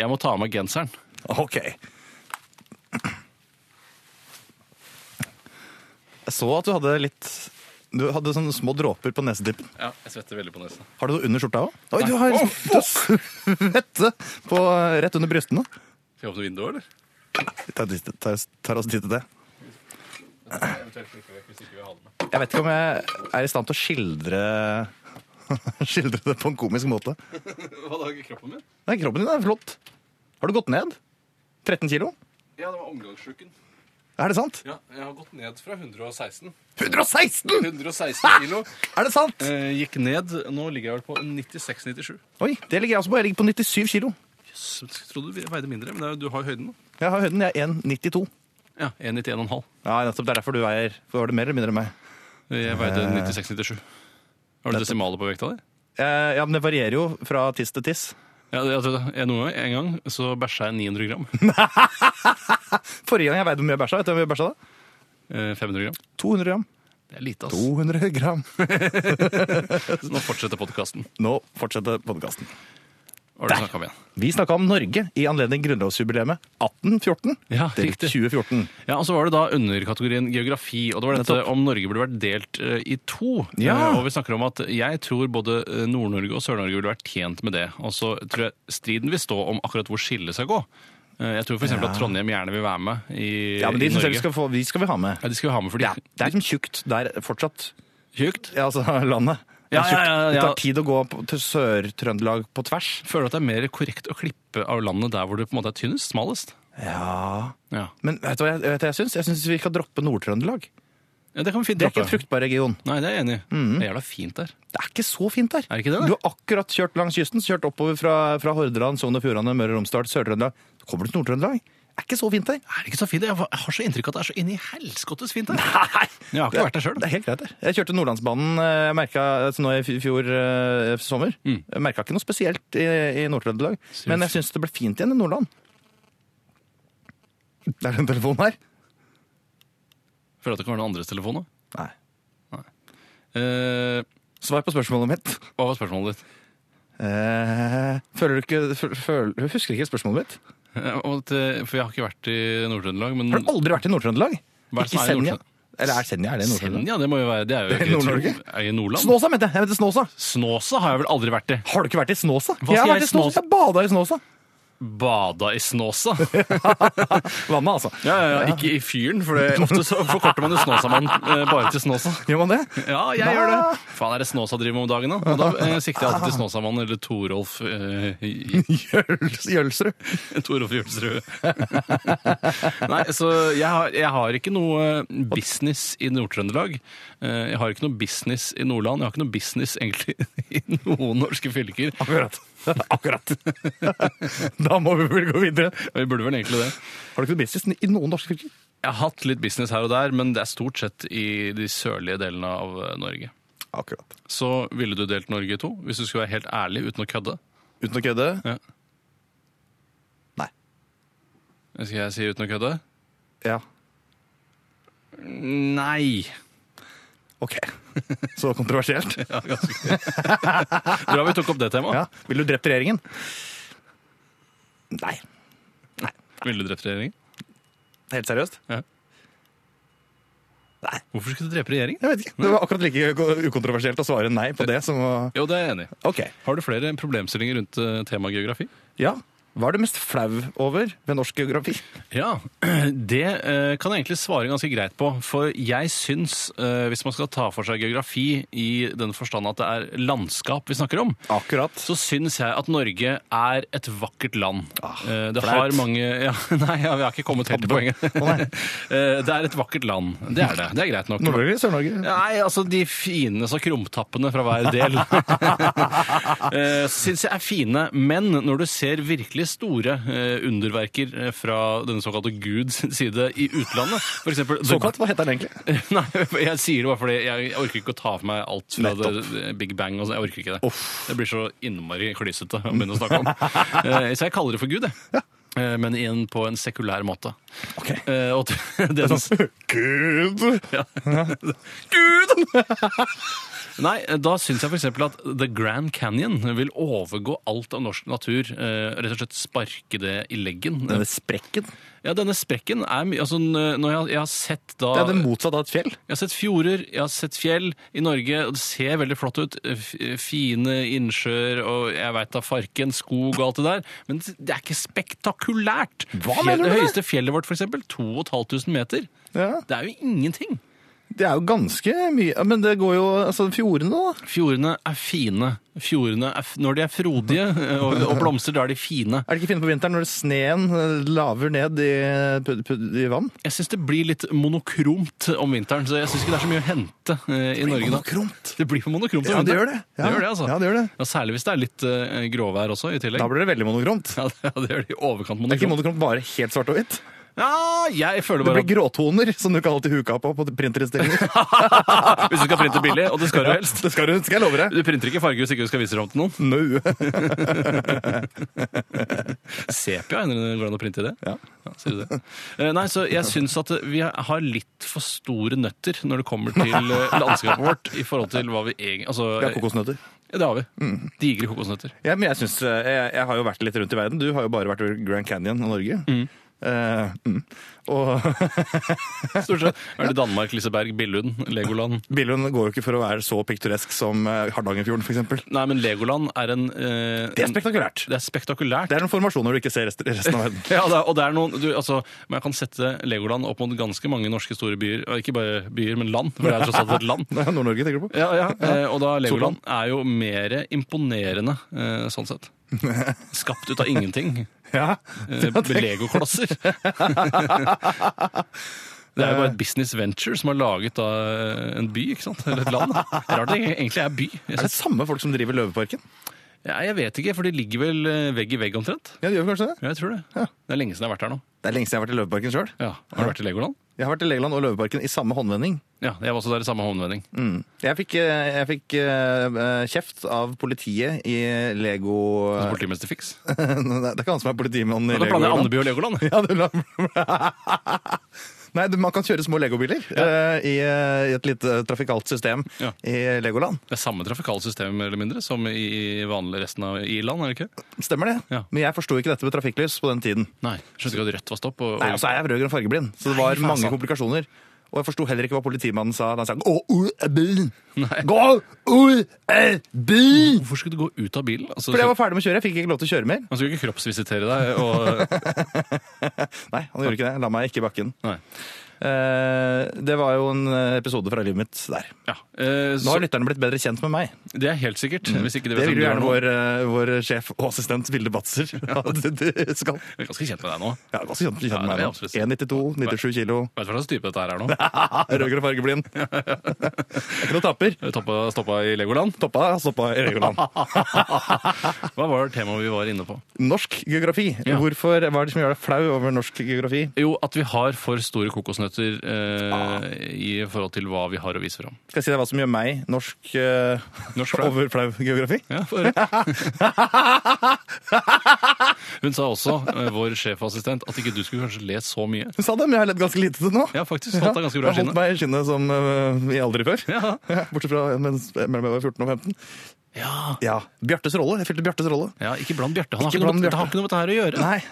Speaker 2: Jeg må ta av meg genseren.
Speaker 3: Ok. Jeg så at du hadde litt Du hadde sånne små dråper på nesetippen.
Speaker 2: Ja, jeg svetter veldig på nesen.
Speaker 3: Har du noe under skjorta òg? Oi, du har
Speaker 2: Å,
Speaker 3: du har svette på, eh, rett under brystene.
Speaker 2: Skal jeg åpne vinduet, eller?
Speaker 3: Vi tar, tar, tar oss tid til det.
Speaker 2: Eventuelt klikke vekk hvis ikke vi har den med.
Speaker 3: Jeg vet ikke om jeg er i stand til å skildre (laughs) Skildre det på en komisk måte.
Speaker 2: Hva da, kroppen min?
Speaker 3: Nei, kroppen din er flott. Har du gått ned? 13 kilo?
Speaker 2: Ja, det var omgangssjuken.
Speaker 3: Er det sant?
Speaker 2: Ja, jeg har gått ned fra 116.
Speaker 3: 116!
Speaker 2: 116 kilo.
Speaker 3: Er det sant?
Speaker 2: Eh, gikk ned. Nå ligger jeg vel på 96-97.
Speaker 3: Oi, det ligger jeg også på. Jeg ligger på 97 kilo.
Speaker 2: Jøss, jeg trodde du veide mindre, men det er, jo- du har jo høyden nå.
Speaker 3: Jeg har høyden. Jeg er 1,92.
Speaker 2: Ja, 191,5.
Speaker 3: Ja, nettopp. Det er derfor du veier For var det mer eller mindre enn meg?
Speaker 2: Jeg veide 96-97. Har du desimaler på vekta di?
Speaker 3: Eh, ja, men det varierer jo fra tiss til tiss.
Speaker 2: Ja, det- jeg tror det. Jeg, noen gang, en gang så bæsja jeg 900 gram. (laughs)
Speaker 3: Forrige gang jeg veide hvor mye jeg bæsja, vet du hvor mye jeg bæsja da?
Speaker 2: Eh, 500 gram.
Speaker 3: 200 gram.
Speaker 2: Det er lite, ass.
Speaker 3: 200 gram.
Speaker 2: Nå fortsetter podkasten.
Speaker 3: (laughs) Nå fortsetter podkasten. Der.
Speaker 2: Ja,
Speaker 3: Vi snakka om Norge i anledning grunnlovsjubileet 1814
Speaker 2: Ja,
Speaker 3: til
Speaker 2: riktig.
Speaker 3: 2014.
Speaker 2: og så var det da underkategorien geografi. Og det var dette
Speaker 3: Nettopp.
Speaker 2: om Norge burde vært delt eh, i to.
Speaker 3: Ja.
Speaker 2: Eh, og vi snakker om at jeg tror både eh, Nord-Norge og Sør-Norge ville vært tjent med det. Og så tror jeg striden vil stå om akkurat hvor skillet skal gå. Eh, jeg tror f.eks. eksempel at Trondheim gjerne vil være med i,
Speaker 3: Ja, men
Speaker 2: i
Speaker 3: de synes
Speaker 2: Norge.
Speaker 3: jeg vi skal, få, vi skal vi ha med.
Speaker 2: Ja, de skal vi ha med fordi
Speaker 3: Ja, det er liksom tjukt der fortsatt.
Speaker 2: Tjukt.
Speaker 3: Ja, altså (laughs) landet. Det,
Speaker 2: Ja,
Speaker 3: er
Speaker 2: ja,
Speaker 3: tjukt.
Speaker 2: ja, ja.
Speaker 3: det tar tid å gå på, til Sør-Trøndelag på tvers.
Speaker 2: Føler du at det er mer korrekt å klippe av landet der hvor det på en måte er tynnest? Smalest?
Speaker 3: Ja
Speaker 2: Ja,
Speaker 3: Men vet du hva jeg, vet du hva jeg syns? Jeg syns vi skal droppe Nord-Trøndelag.
Speaker 2: ja det kan vi fint
Speaker 3: Det er ikke
Speaker 2: droppe.
Speaker 3: en Mhm. fruktbar region.
Speaker 2: Nei, det er jeg enig i. Det er jævla fint der.
Speaker 3: Det er ikke så fint der.
Speaker 2: Er det ikke det, da?
Speaker 3: Du har akkurat kjørt langs kysten, kjørt oppover fra, fra Hordaland, Sogn og Fjordane, Møre og Romsdal, Sør-Trøndelag. Så kommer du til Nord-Trøndelag. Det er ikke så fint der.
Speaker 2: Er det ikke så fint? Jeg har så inntrykk av at det er så inni helskottes fint der.
Speaker 3: Nei!
Speaker 2: Jeg har ikke vært der sjøl.
Speaker 3: Det er helt greit der. Jeg kjørte Nordlandsbanen eh, jeg merket, altså, nå i fj- fjor eh, sommer.
Speaker 2: Mm.
Speaker 3: Jeg merka ikke noe spesielt i, i Nord-Trøndelag. Men jeg syns det ble fint igjen i Nordland. Det er den telefonen her.
Speaker 2: Føler at det kan være noen andres telefon nå.
Speaker 3: Nei.
Speaker 2: Eh,
Speaker 3: Svar på spørsmålet mitt.
Speaker 2: hva var spørsmålet ditt?
Speaker 3: Eh, føler du ikke fø- føl- Du husker ikke spørsmålet mitt?
Speaker 2: Eh, om at, eh, For jeg har ikke vært i Nord-Trøndelag, men
Speaker 3: Har du aldri vært i Nord-Trøndelag?
Speaker 2: Hva er det som
Speaker 3: Ikke
Speaker 2: er i
Speaker 3: Senja?
Speaker 2: Nord-Trøndelag?
Speaker 3: Eller er Senja er det i Nord-Trøndelag?
Speaker 2: Senja, det må jo være Det er jo
Speaker 3: Det er
Speaker 2: ikke
Speaker 3: Nord-Norge.
Speaker 2: Tro- Er det Nordland?
Speaker 3: Snåsa, mente jeg! Jeg mente Snåsa.
Speaker 2: Snåsa har jeg vel aldri vært i.
Speaker 3: Har du ikke vært i Snåsa?
Speaker 2: skal
Speaker 3: jeg har
Speaker 2: jeg
Speaker 3: vært
Speaker 2: i
Speaker 3: i Snåsa.
Speaker 2: Snåsa?
Speaker 3: Jeg bada i Snåsa.
Speaker 2: Bada i
Speaker 3: (laughs)
Speaker 2: Snåsa?
Speaker 3: Vannet, altså.
Speaker 2: Ja, ja, ja, (laughs) ikke i fyren, for det, ofte så forkorter man jo Snåsamann eh, bare til Snåsa.
Speaker 3: Gjør man det?
Speaker 2: Ja, jeg gjør det. Faen, er det Snåsa driver med om dagen, da? Og da eh, sikter jeg alltid til Snåsamann eller Torolf eh, i-
Speaker 3: Jøls, Jølsrud.
Speaker 2: (laughs) Torolf Julsrud. Nei, så jeg har, jeg har ikke noe eh, business i Nord-Trøndelag. Eh, Jeg har ikke noe business i Nordland. Jeg har ikke noe business egentlig (laughs) i noen norske fylker.
Speaker 3: Akkurat. Akkurat. (laughs) da må vi vel gå videre.
Speaker 2: Og Vi burde vel egentlig det.
Speaker 3: Har du ikke noe business i noen norske fylker?
Speaker 2: Jeg har hatt litt business her og der, men det er stort sett i de sørlige delene av eh, Norge.
Speaker 3: Akkurat.
Speaker 2: Så ville du delt Norge i to, hvis du skulle være helt ærlig uten å kødde?
Speaker 3: Uten å kødde?
Speaker 2: Ja.
Speaker 3: Nei.
Speaker 2: Skal jeg si uten å kødde?
Speaker 3: Ja.
Speaker 2: Nei.
Speaker 3: Ok. Så (laughs) kontroversielt.
Speaker 2: Bra vi tok opp det temaet.
Speaker 3: Ja. Vil du drept regjeringen? Nei.
Speaker 2: Ville du drept regjeringen?
Speaker 3: Helt seriøst?
Speaker 2: Hvorfor skulle du drepe regjeringen?
Speaker 3: Jeg vet ikke. Det var akkurat like uko- ukontroversielt å svare nei på det som å
Speaker 2: Jo, det er jeg enig i.
Speaker 3: Ok.
Speaker 2: Har du flere problemstillinger rundt eh, temaet geografi?
Speaker 3: Ja. Hva er du mest flau over ved norsk geografi?
Speaker 2: Ja, (clears throat) det eh, kan jeg egentlig svare ganske greit på. For jeg syns, eh, hvis man skal ta for seg geografi i den forstand at det er landskap vi snakker om,
Speaker 3: Akkurat.
Speaker 2: så syns jeg at Norge er et vakkert land. Eh, det
Speaker 3: flaut.
Speaker 2: har mange (laughs) ja, Nei, ja, vi har ikke kommet helt til
Speaker 3: Tapte.
Speaker 2: poenget. (laughs) Eh, det er et vakkert land. Det er det. Det er greit nok.
Speaker 3: Nord-Norge eller Sør-Norge?
Speaker 2: Nei, altså de fine så krumtappene fra hver
Speaker 3: (laughs)
Speaker 2: del eh, syns jeg er fine. Men når du ser virkelig store eh, underverker eh, fra denne såkalte Guds side i utlandet for eksempel, The-
Speaker 3: Såkalt? Hva heter den (laughs) egentlig?
Speaker 2: (laughs) Nei, jeg sier det bare fordi jeg jeg orker ikke å ta for meg alt fra
Speaker 3: Nettopp.
Speaker 2: det- Big Bang. og sånn. Jeg orker ikke det. Det blir så innmari klysete å begynne å snakke
Speaker 3: (laughs)
Speaker 2: om. Eh, så jeg kaller det for Gud, jeg. Eh, Men i en- på en sekulær måte.
Speaker 3: Ok.
Speaker 2: Eh, og (laughs) det,
Speaker 3: sånn
Speaker 2: det,
Speaker 3: (laughs) Gud!
Speaker 2: Gud! Nei, da syns jeg f.eks. at The Grand Canyon vil overgå alt av norsk natur. eh, Rett og slett sparke det i leggen.
Speaker 3: Denne sprekken.
Speaker 2: Ja, denne sprekken er mye altså, når jeg, jeg har sett da
Speaker 3: Det er det motsatte av et fjell.
Speaker 2: Jeg har sett fjorder, jeg har sett fjell i Norge, og det ser veldig flott ut. F- Fine innsjøer og jeg veit da farken, skog og alt det der. Men det er ikke spektakulært.
Speaker 3: Hva
Speaker 2: Fjell-
Speaker 3: mener
Speaker 2: Det
Speaker 3: du med det?
Speaker 2: høyeste fjellet vårt, f.eks., 2500 meter.
Speaker 3: Ja.
Speaker 2: Det er jo ingenting.
Speaker 3: Det er jo ganske mye ja, Men det går jo altså fjordene, da.
Speaker 2: Fjordene er fine. Fjordene er, f- når de er frodige eh, og, og blomstrer, da er de fine.
Speaker 3: Er det ikke fint på vinteren når sneen eh, laver ned i, pud- pud- i vann?
Speaker 2: Jeg syns det blir litt monokromt om vinteren, så jeg syns ikke det er så mye å hente eh, i Norge da.
Speaker 3: Monokromt.
Speaker 2: Det blir for monokromt om
Speaker 3: Ja, det gjør
Speaker 2: vinteren.
Speaker 3: det.
Speaker 2: Det gjør det, altså.
Speaker 3: Ja, det gjør det.
Speaker 2: Ja, særlig hvis det er litt eh, gråvær også, i tillegg.
Speaker 3: Da blir det veldig monokromt.
Speaker 2: Ja, det, ja, det gjør det i overkant
Speaker 3: Det er ikke
Speaker 2: monokromt.
Speaker 3: monokromt bare helt svart og hvitt.
Speaker 2: Ja, jeg føler
Speaker 3: Det
Speaker 2: bare
Speaker 3: blir
Speaker 2: at
Speaker 3: gråtoner, som du kan alltid huke av på på (laughs) printerinstillinger.
Speaker 2: hvis du skal printe billig, og det skal du helst
Speaker 3: Det skal du, skal jeg love deg.
Speaker 2: Du printer ikke farge hvis ikke du skal vise det fram til noen.
Speaker 3: No.
Speaker 2: Sepia hender det går an å printe i det.
Speaker 3: Ja.
Speaker 2: sier du det? Eh, Nei, så jeg syns at vi har litt for store nøtter når det kommer til
Speaker 3: (laughs)
Speaker 2: eh, landskapet vårt i forhold til hva vi egentlig altså,
Speaker 3: Det er kokosnøtter.
Speaker 2: Ja, det har vi.
Speaker 3: Mm.
Speaker 2: Digre kokosnøtter.
Speaker 3: Ja, men jeg, synes, eh, jeg, jeg har jo vært litt rundt i verden. Du har jo bare vært i Grand Canyon og Norge. Eh, mm. Og (laughs)
Speaker 2: Stort sett. Er det Danmark, Liseberg, Billund, Legoland?
Speaker 3: Billund går jo ikke for å være så piktoresk som eh, Hardangerfjorden, f.eks.
Speaker 2: Nei, men Legoland er en eh,
Speaker 3: Det er spektakulært.
Speaker 2: Det er spektakulært.
Speaker 3: Det er noen formasjoner du ikke ser rest- resten av (laughs) verden.
Speaker 2: Ja, det er, og det er noen, du, altså, men jeg kan sette Legoland opp mot ganske mange norske store byer. og Ikke bare byer, men land. For det er tross alt et land.
Speaker 3: Det er Nord-Norge tenker du på?
Speaker 2: Ja, ja. Eh, og da Legoland er jo mer imponerende eh, sånn sett. Skapt ut av (laughs) ingenting.
Speaker 3: Ja.
Speaker 2: Eh, (laughs) Legoklosser. Det er jo bare et business venture som har laget da, eh, en by, ikke sant? Eller et land. Rart det egentlig er by. Jeg,
Speaker 3: Er det
Speaker 2: synes,
Speaker 3: samme folk som driver Løveparken?
Speaker 2: ja, jeg vet ikke, for de ligger vel eh, vegg i vegg omtrent?
Speaker 3: Ja, de gjør vel kanskje det?
Speaker 2: Ja, jeg tror det. Det er lenge siden jeg har vært her nå.
Speaker 3: Det er lenge siden jeg har vært i Løveparken sjøl.
Speaker 2: Ja, Har du vært i Legoland?
Speaker 3: Jeg har vært i Legoland og Løveparken i samme håndvending.
Speaker 2: Ja, jeg var også der i samme håndvending.
Speaker 3: Jeg fikk, eh, jeg fikk eh, kjeft av politiet i Lego...
Speaker 2: Hos Politimester Fix.
Speaker 3: (laughs) Nei, Det er ikke han som er politimann i
Speaker 2: Da
Speaker 3: Lego.
Speaker 2: blander jeg Andeby og Legoland.
Speaker 3: (laughs) Ja, du la... (laughs) Nei, du- man kan kjøre små legobiler eh, i, eh, i et lite trafikalt system
Speaker 2: Ja.
Speaker 3: i Legoland.
Speaker 2: Det er samme trafikale system mer eller mindre, som i vanlig resten av Irland, er det ikke?
Speaker 3: Stemmer det?
Speaker 2: Ja.
Speaker 3: Men jeg forsto ikke dette med trafikklys på den tiden.
Speaker 2: Nei. Skjønte ikke at rødt var stopp. Og, og,
Speaker 3: Nei, Og så er jeg rød-grønn fargeblind, så det var
Speaker 2: Nei, faen, altså.
Speaker 3: mange
Speaker 2: sant.
Speaker 3: komplikasjoner. Og jeg forsto heller ikke hva politimannen sa da han sa Gå ut av bilen!
Speaker 2: Nei.
Speaker 3: Gå ut av bilen!
Speaker 2: Hvorfor skulle du gå ut av bilen? Altså,
Speaker 3: Fordi jeg var ferdig med å kjøre. Jeg fikk ikke lov til å kjøre mer.
Speaker 2: Han skulle ikke kroppsvisitere deg. Og,
Speaker 3: (laughs) Nei, han gjorde ikke det. La meg ikke i bakken.
Speaker 2: nei.
Speaker 3: Eh, det var jo en eh, episode fra livet mitt der.
Speaker 2: Ja. eh,
Speaker 3: Nå
Speaker 2: så,
Speaker 3: har lytterne blitt bedre kjent med meg.
Speaker 2: det er helt sikkert. Hvis ikke de
Speaker 3: Det
Speaker 2: vet
Speaker 3: vil jo
Speaker 2: hvem du er
Speaker 3: gjerne
Speaker 2: nå.
Speaker 3: vår, eh, vår sjef og assistent Vilde
Speaker 2: (laughs)
Speaker 3: Batzer. Ja, det, det skal.
Speaker 2: Jeg er ganske kjent med deg nå.
Speaker 3: Ja, hva skal jeg
Speaker 2: Ja,
Speaker 3: kjenne
Speaker 2: det
Speaker 3: meg
Speaker 2: er
Speaker 3: nå?
Speaker 2: absolutt.
Speaker 3: 1,92, 97
Speaker 2: (laughs)
Speaker 3: kilo,
Speaker 2: Vet du hva slags type dette
Speaker 3: (laughs)
Speaker 2: her er nå?
Speaker 3: rødgrønn
Speaker 2: (laughs)
Speaker 3: og fargeblind. (laughs) Det er ikke noe tapper.
Speaker 2: Toppa, stoppa i Legoland.
Speaker 3: Toppa, stoppa i
Speaker 2: (laughs)
Speaker 3: Legoland.
Speaker 2: Hva var det temaet vi var inne på?
Speaker 3: Norsk geografi.
Speaker 2: Ja.
Speaker 3: Hvorfor, Hva er det som gjør deg flau over norsk geografi?
Speaker 2: Jo, at vi har for store kokosnøtter eh,
Speaker 3: Ah.
Speaker 2: i forhold til hva vi har å vise fram.
Speaker 3: Skal jeg si deg hva som gjør meg norsk, eh,
Speaker 2: Norsk flau.
Speaker 3: over flau geografi?
Speaker 2: Ja,
Speaker 3: (laughs)
Speaker 2: få høre. Hun sa også, eh, vår sjefassistent, at ikke du skulle kanskje le så mye.
Speaker 3: Hun sa det, men jeg har ledd ganske lite til nå.
Speaker 2: Ja, faktisk. Holdt deg ganske bra i
Speaker 3: Jeg holdt
Speaker 2: skinnet.
Speaker 3: meg i skinnet som eh, i aldri før.
Speaker 2: Ja.
Speaker 3: (laughs) Bortsett fra mens, mellom jeg var 14 og 15.
Speaker 2: Ja.
Speaker 3: Ja. Bjartes rolle. Jeg fylte Bjartes rolle.
Speaker 2: ja, ikke blant Bjarte. Han har
Speaker 3: Ikke
Speaker 2: ikke, noe,
Speaker 3: blant
Speaker 2: med- det har
Speaker 3: Bjarte.
Speaker 2: ikke noe med dette her å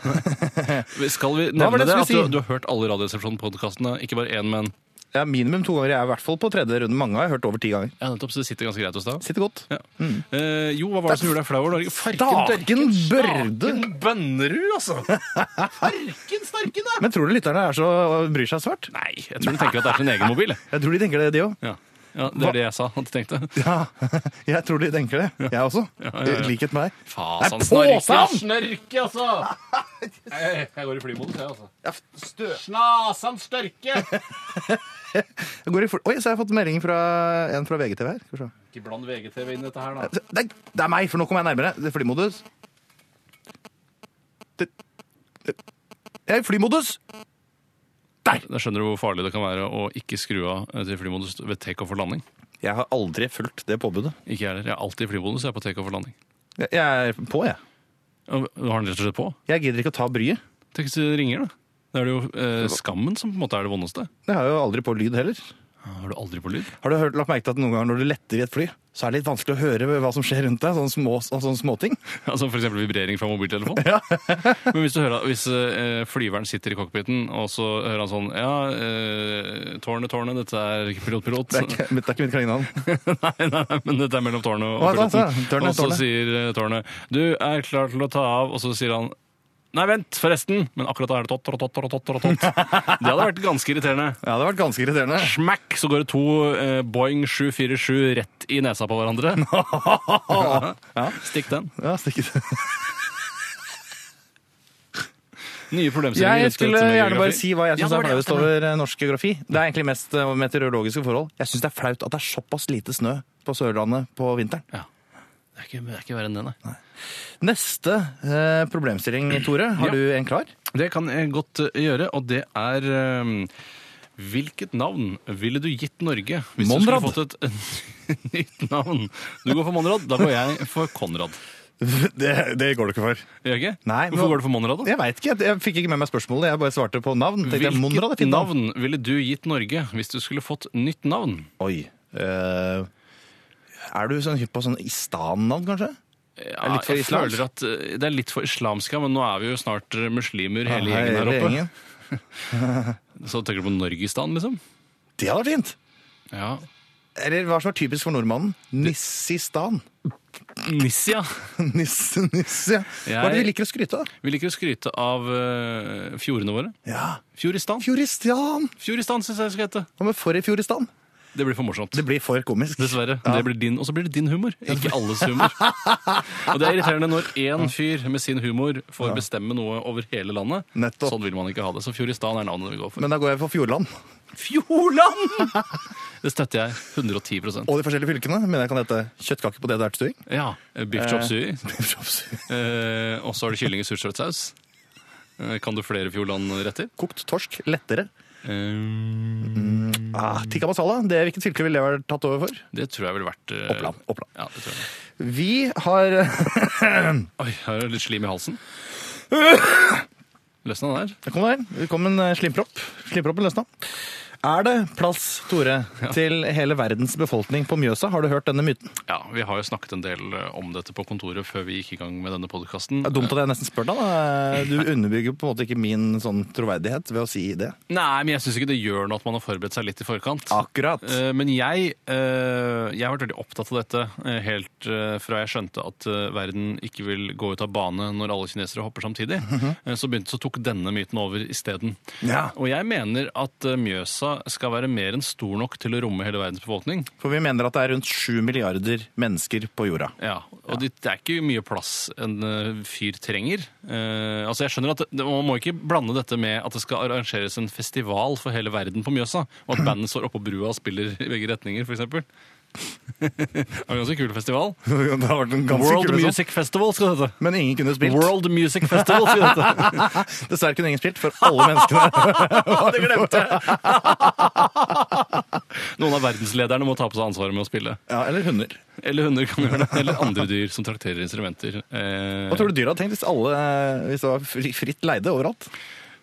Speaker 2: gjøre.
Speaker 3: Nei.
Speaker 2: Skal vi
Speaker 3: Hva var
Speaker 2: nevne
Speaker 3: det
Speaker 2: det?
Speaker 3: jeg
Speaker 2: At du,
Speaker 3: skulle si?
Speaker 2: du har hørt alle Radioresepsjonen-podkastene, ikke bare én, men
Speaker 3: Ja, minimum to ganger. Jeg er i hvert fall på tredje runde. Mange har jeg hørt over ti ganger.
Speaker 2: ja, nettopp, så det sitter ganske greit hos deg.
Speaker 3: Sitter godt.
Speaker 2: Ja. Eh, jo, hva var det som gjorde deg flau over Norge?
Speaker 3: Staken Børde!
Speaker 2: Staken Bønnerud, altså! Farken sterken, da!
Speaker 3: Men tror du lytterne er så, bryr seg svært?
Speaker 2: Nei, jeg tror de tenker at det er sin egen mobil. jeg.
Speaker 3: Jeg tror de tenker det, de òg.
Speaker 2: Ja. ja, Det
Speaker 3: Hva?
Speaker 2: er det jeg sa at de tenkte.
Speaker 3: Ja, (laughs) jeg tror de tenker det. Jeg også.
Speaker 2: Ja, ja, ja.
Speaker 3: I likhet med deg.
Speaker 2: Fasan,
Speaker 3: Nei,
Speaker 2: snorke,
Speaker 3: påsan!
Speaker 2: snørke, altså! (laughs) Jeg, jeg går i flymodus, jeg, altså.
Speaker 3: Ja, stø.
Speaker 2: Snasan størke!
Speaker 3: Jeg går i for... Oi, så har jeg fått melding fra en fra VGTV her. Skal vi se.
Speaker 2: Ikke bland VGTV inn i dette her, da.
Speaker 3: Det er, det er meg, for nå kommer jeg nærmere. Det er flymodus. Det, det, jeg er i flymodus!
Speaker 2: Da skjønner du hvor farlig det kan være å ikke skru av eh, til flymodus ved takeoff og landing.
Speaker 3: Jeg har aldri fulgt det påbudet.
Speaker 2: Ikke jeg heller. Jeg er alltid i flymodus jeg er på takeoff og landing.
Speaker 3: Jeg, jeg er på, jeg.
Speaker 2: Og Har den rett og slett på?
Speaker 3: Jeg gidder ikke å ta bryet.
Speaker 2: Tenk hvis det ringer, da. Da er det jo eh, skammen som på en måte er det vondeste.
Speaker 3: Jeg har jo aldri på lyd heller.
Speaker 2: Har du aldri på lyd?
Speaker 3: Har du hørt, lagt merke til at noen ganger når du letter i et fly, så er det litt vanskelig å høre hva som skjer rundt deg? Sånne, små, sånne småting.
Speaker 2: (laughs) Altså for eksempel vibrering fra mobiltelefon. (laughs) Men hvis du hører hvis eh, flyveren sitter i cockpiten, og så hører han sånn Ja, eh, tårnet, tårnet, dette er ikke pilot, pilot.
Speaker 3: Det er ikke mitt, det er ikke mitt klingenavn.
Speaker 2: nei, nei, nei, men dette er mellom tårnet og
Speaker 3: Hva da,
Speaker 2: piloten.
Speaker 3: sa jeg? Tårnet,
Speaker 2: og så
Speaker 3: tårnet.
Speaker 2: sier eh, tårnet Du er klar til å ta av, og så sier han Nei, vent, forresten! Men akkurat da er det tott, tott, tott, tott,
Speaker 3: (laughs)
Speaker 2: tott, tott. Det hadde vært ganske irriterende.
Speaker 3: Ja, det har vært ganske irriterende.
Speaker 2: Smack, så går det to eh, Boeing 747 rett i nesa på
Speaker 3: (laughs)
Speaker 2: hverandre. Stikk den.
Speaker 3: Ja, stikk det.
Speaker 2: Nye problemstillinger.
Speaker 3: Jeg
Speaker 2: rundt
Speaker 3: skulle
Speaker 2: dette med
Speaker 3: gjerne bare
Speaker 2: geografi.
Speaker 3: si hva jeg
Speaker 2: Ja,
Speaker 3: syns
Speaker 2: det var
Speaker 3: er
Speaker 2: det jeg
Speaker 3: flaut
Speaker 2: stemmer.
Speaker 3: over eh, norsk geografi. Det er egentlig mest eh, meteorologiske forhold. Jeg syns det er flaut at det er såpass lite snø på Sørlandet på vinteren.
Speaker 2: Ja. Det er ikke, det er ikke verre enn det, nei.
Speaker 3: Neste eh, problemstilling, Tore.
Speaker 2: Ja.
Speaker 3: Har du en klar?
Speaker 2: Det kan jeg godt eh, gjøre, og det er eh, Hvilket navn ville du gitt Norge hvis
Speaker 3: Monrad.
Speaker 2: du skulle fått et (laughs) nytt navn? Du går for Monrad, da går jeg for Konrad.
Speaker 3: Det, det går du ikke for.
Speaker 2: Gjør jeg ikke?
Speaker 3: Nei,
Speaker 2: Hvorfor
Speaker 3: nå-
Speaker 2: går du for Monrad, da?
Speaker 3: Jeg veit ikke. Jeg fikk ikke med meg spørsmålet. Jeg bare svarte på navn. Tenkte jeg, Monrad er
Speaker 2: Hvilket
Speaker 3: fint
Speaker 2: navn ville du gitt Norge hvis du skulle fått nytt navn?
Speaker 3: Oi. eh, er du sånn hypp på sånn istan-navn, kanskje?
Speaker 2: Ja,
Speaker 3: litt for
Speaker 2: jeg
Speaker 3: islamsk.
Speaker 2: føler at eh, Det er litt for islamsk, ja, men nå er vi jo snart eh, muslimer hele
Speaker 3: Hei,
Speaker 2: gjengen her oppe.
Speaker 3: gjengen.
Speaker 2: Så tenker du på Norgistan, liksom?
Speaker 3: Det hadde vært fint!
Speaker 2: Ja.
Speaker 3: Eller hva som er typisk for nordmannen? Nissistan. (laughs)
Speaker 2: Nissia.
Speaker 3: Nisse, nisse. Hva er det vi liker å skryte av?
Speaker 2: Vi liker å skryte av eh, fjordene våre.
Speaker 3: Ja.
Speaker 2: Fjordistan.
Speaker 3: Fjordistan!
Speaker 2: Fjordistan syns jeg det skal hete.
Speaker 3: Hva med for i Fjordistan?
Speaker 2: Det blir for morsomt.
Speaker 3: Det blir for komisk.
Speaker 2: Dessverre.
Speaker 3: Ja.
Speaker 2: Det blir din, og så blir det din humor, ikke alles
Speaker 3: (laughs)
Speaker 2: humor. Og det er irriterende når én fyr med sin humor får bestemme noe over hele landet.
Speaker 3: Nettopp.
Speaker 2: Sånn vil man ikke ha det. Så Fjordistan er navnet vi går for.
Speaker 3: Men da går jeg for Fjordland.
Speaker 2: Fjordland! (laughs) Det støtter jeg 110
Speaker 3: Og de forskjellige fylkene. Men jeg kan hete kjøttkake på det der (laughs) stuing.
Speaker 2: Ja. Biff
Speaker 3: Eh.
Speaker 2: chop sui.
Speaker 3: Biffchops.
Speaker 2: Eh, og så har du kylling i surstrømsaus. Eh, kan du flere Fjordland-retter?
Speaker 3: Kokt torsk. Lettere.
Speaker 2: Eh,
Speaker 3: Ah, tikka masala. Det Hvilket fylke ville det vært tatt over for?
Speaker 2: det tror jeg ville vært eh,
Speaker 3: Oppland. Oppland.
Speaker 2: Ja, det tror jeg.
Speaker 3: Vi har
Speaker 2: Oi, her er det litt slim i
Speaker 3: (laughs)
Speaker 2: halsen. Løsna der.
Speaker 3: Kom der. Det kom en eh, slimpropp. Slimproppen løsna. Er det plass, Tore, til hele verdens befolkning på Mjøsa? Har du hørt denne myten?
Speaker 2: Ja, Vi har jo snakket en del eh, om dette på kontoret før vi gikk i gang med denne podkasten.
Speaker 3: Det er dumt at jeg nesten spør deg. da. Du underbygger på en måte ikke min sånn troverdighet ved å si det.
Speaker 2: Nei, men jeg syns ikke det gjør noe at man har forberedt seg litt i forkant.
Speaker 3: Akkurat.
Speaker 2: Eh, Men jeg, eh, jeg har vært veldig opptatt av dette eh, helt eh, fra jeg skjønte at eh, verden ikke vil gå ut av bane når alle kinesere hopper samtidig. Eh, Så, begynte, så tok denne myten over isteden.
Speaker 3: Ja.
Speaker 2: Og jeg mener at eh, Mjøsa skal være mer enn stor nok til å romme hele verdens befolkning.
Speaker 3: For vi mener at det er rundt sju milliarder mennesker på jorda.
Speaker 2: Ja, og Det, det er ikke mye plass en eh, fyr trenger. Eh, altså jeg skjønner at det, Man må ikke blande dette med at det skal arrangeres en festival for hele verden på Mjøsa, og at bandet står oppå brua og spiller i begge retninger, f.eks. det var en ganske kul festival.
Speaker 3: (laughs) Det har vært en sånn.
Speaker 2: World Music Festival skal det hete.
Speaker 3: Men ingen kunne spilt.
Speaker 2: World Music Festival skal det hete.
Speaker 3: (laughs) Dessverre kunne ingen spilt, for alle menneskene (laughs)
Speaker 2: Det glemte jeg! Noen av verdenslederne må ta på seg ansvaret med å spille.
Speaker 3: Ja, Eller hunder.
Speaker 2: Eller hunder kan gjøre det. Eller andre dyr som trakterer instrumenter. Eh,
Speaker 3: Hva tror du dyra hadde tenkt hvis, alle, eh, hvis det var fri- fritt leide overalt?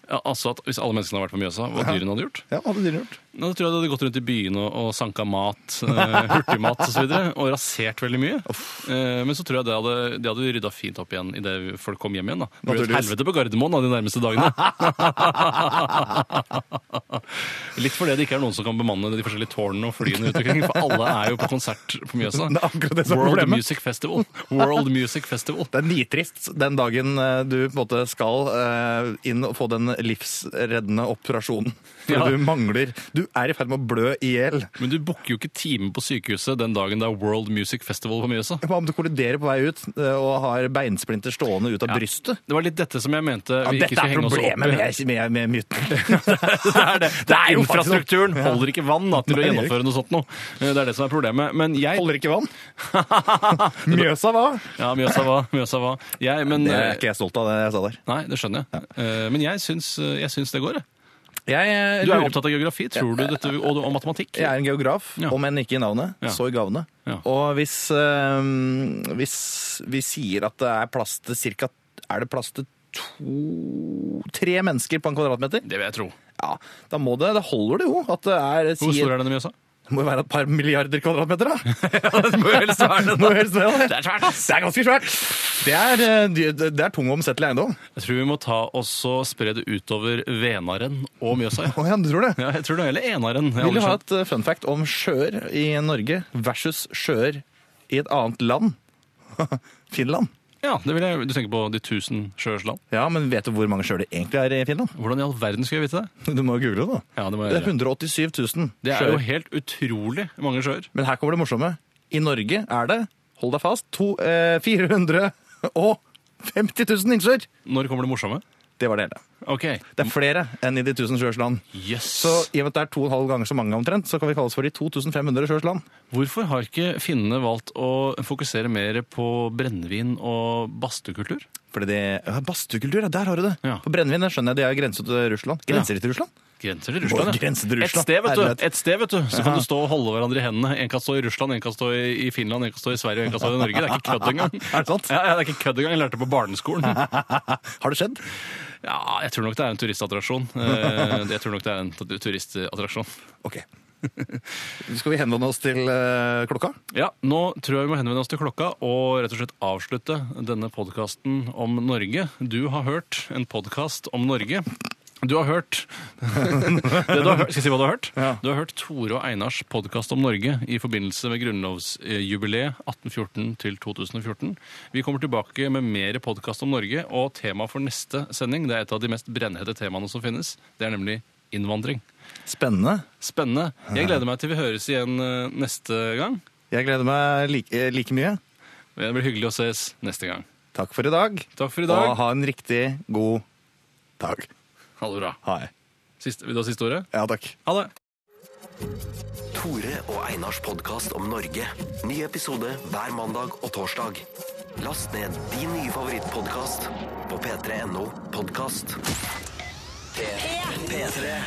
Speaker 2: Ja, altså at Hvis alle menneskene hadde vært på Mjøsa, hva dyrene hadde gjort?
Speaker 3: Ja, hva hadde
Speaker 2: (laughs)
Speaker 3: dyra gjort?
Speaker 2: Nå tror jeg de hadde gått rundt i byen og, og sanka mat, eh, hurtigmat osv. Og, så videre, og rasert veldig mye. Eh, men så tror jeg det hadde, de hadde rydda fint opp igjen idet folk kom hjem igjen. da. Det ble et
Speaker 3: Naturligvis.
Speaker 2: helvete på Gardermoen da, de nærmeste
Speaker 3: (laughs)
Speaker 2: dagene. Litt fordi det ikke er noen som kan bemanne de forskjellige tårnene og flyene rundt omkring. For alle er jo på konsert på Mjøsa.
Speaker 3: Det er akkurat det som er
Speaker 2: Sånn, World
Speaker 3: problemet.
Speaker 2: Music Festival. World Music Festival.
Speaker 3: Det er nitrist den dagen eh, du på en måte skal eh, inn og få den livsreddende operasjonen. (laughs) For
Speaker 2: Ja.
Speaker 3: du mangler Du er i ferd med å blø i hjel.
Speaker 2: Men du booker jo ikke time på sykehuset den dagen det er World Music Festival på Mjøsa.
Speaker 3: Hva om du kolliderer på vei ut eh, og har beinsplinter stående ut av brystet?
Speaker 2: Det var litt dette som jeg mente vi ikke
Speaker 3: Dette
Speaker 2: skulle
Speaker 3: er
Speaker 2: henge oss opp eh.
Speaker 3: problemet
Speaker 2: i.
Speaker 3: med, med, med myten.
Speaker 2: (laughs) det er det. Det er
Speaker 3: jo
Speaker 2: infrastrukturen
Speaker 3: faktisk noe.
Speaker 2: holder ikke vann da, til å
Speaker 3: Nei, det gjør
Speaker 2: gjennomføre noe sånt noe. Det er det som er problemet. Men jeg
Speaker 3: Holder
Speaker 2: (laughs)
Speaker 3: ikke vann. Mjøsa hva?
Speaker 2: Ja, Mjøsa hva? Mjøsa hva? Jeg, men
Speaker 3: Det er ikke jeg stolt av, det jeg sa der.
Speaker 2: Nei, det skjønner jeg. Eh, Men jeg syns, jeg syns det går, jeg.
Speaker 3: Jeg, eh,
Speaker 2: Du er
Speaker 3: lurer-
Speaker 2: opptatt av geografi, tror du, dette, og, og matematikk?
Speaker 3: jeg er en geograf,
Speaker 2: Ja.
Speaker 3: om enn ikke i navnet,
Speaker 2: Ja.
Speaker 3: så i gavene.
Speaker 2: Ja.
Speaker 3: Og hvis, eh, hvis vi sier at det er plass til cirka Er det plass til to Tre mennesker på en kvadratmeter?
Speaker 2: Det vil jeg tro.
Speaker 3: Ja, da må det Da holder det jo at det er
Speaker 2: Hvor
Speaker 3: sier-
Speaker 2: stor er denne
Speaker 3: (laughs)
Speaker 2: Mjøsa?
Speaker 3: Det må jo være et par milliarder kvadratmeter, da! (laughs)
Speaker 2: det må jo helst være det, da.
Speaker 3: Må jo helst være det.
Speaker 2: Det er svært, ass.
Speaker 3: Det er ganske svært! Det er, eh, dy- det er tung og omsettelig eiendom.
Speaker 2: Jeg tror vi må ta oss og spre det utover Venaren og Mjøsa. Ja.
Speaker 3: Å ja, du tror det?
Speaker 2: Ja, jeg tror det. Eller Enaren. Jeg har
Speaker 3: Vil du
Speaker 2: aldri
Speaker 3: ha
Speaker 2: skjønt.
Speaker 3: et eh, fun fact om sjøer i Norge versus sjøer i et annet land? (laughs) Finland.
Speaker 2: Ja, det vil jeg. Du tenker på De tusen sjøers land?
Speaker 3: Ja, men vet du hvor mange sjøer det egentlig er i Finland? (laughs)
Speaker 2: Hvordan i all verden skulle jeg vite det?
Speaker 3: Du må jo google det, da.
Speaker 2: Ja, Det må
Speaker 3: Det
Speaker 2: jeg
Speaker 3: er
Speaker 2: gjøre.
Speaker 3: 187 000
Speaker 2: Det er jo
Speaker 3: sjøer.
Speaker 2: helt utrolig mange sjøer.
Speaker 3: Men her kommer det morsomme. I Norge er det, hold deg fast, to, eh, 450 000 innsjøer.
Speaker 2: Når kommer det morsomme?
Speaker 3: Det var det hele.
Speaker 2: OK.
Speaker 3: Det er flere enn i de 1000 sjøers land.
Speaker 2: Jøss.
Speaker 3: Så i og med at det er to og en halv ganger så mange omtrent, så kan vi kalles for de 2500 sjøers land.
Speaker 2: Hvorfor har ikke finnene valgt å fokusere mer på brennevin og badstuekultur?
Speaker 3: Fordi det ja, Badstuekultur, ja, der har du det!
Speaker 2: Ja.
Speaker 3: På brennevin det skjønner jeg de er grense til Russland. Grenser de til Russland?
Speaker 2: Grenser til Russland,
Speaker 3: Å, grenser
Speaker 2: Et
Speaker 3: til Russland.
Speaker 2: sted, vet
Speaker 3: Herlighet.
Speaker 2: du. Et sted, vet du. Så kan
Speaker 3: Ja.
Speaker 2: du stå og holde hverandre i hendene. En kan stå i Russland, en kan stå i i Finland, en kan stå i Sverige, og en kan stå i Norge. Det er ikke kødd engang.
Speaker 3: (laughs) Er det sant?
Speaker 2: Ja, ja, det er ikke kødd engang. Jeg lærte det på barneskolen.
Speaker 3: (laughs) Har det skjedd?
Speaker 2: Ja, jeg tror nok det er en turistattraksjon. Eh, Jeg tror nok det er en tu- turistattraksjon.
Speaker 3: Ok. (laughs) Skal vi henvende oss til eh, klokka?
Speaker 2: Ja, nå tror jeg vi må henvende oss til klokka og rett og slett avslutte denne podkasten om Norge. Du har hørt en podkast om Norge. Du har hørt (laughs) det du har hørt, Skal jeg si hva du har hørt?
Speaker 3: Ja.
Speaker 2: Du har hørt Tore og Einars podkast om Norge i forbindelse med grunnlovsjubileet 1814 til 2014. Vi kommer tilbake med mer podkast om Norge, og temaet for neste sending det er et av de mest brennhete temaene som finnes. Det er nemlig innvandring.
Speaker 3: Spennende.
Speaker 2: Spennende. Jeg gleder meg til vi høres igjen eh, neste gang.
Speaker 3: Jeg gleder meg like, eh, like mye.
Speaker 2: Det blir hyggelig å ses neste gang.
Speaker 3: Takk for i dag.
Speaker 2: Takk for i dag.
Speaker 3: Og ha en riktig god dag.
Speaker 2: Ha det bra.
Speaker 3: Ha det.
Speaker 2: Siste, vil du ha siste ordet?
Speaker 3: Ja, takk.
Speaker 2: Ha det.
Speaker 1: Tore og Einars podkast om Norge. Ny episode hver mandag og torsdag. Last ned din nye favorittpodkast på p3.no podkast. P3.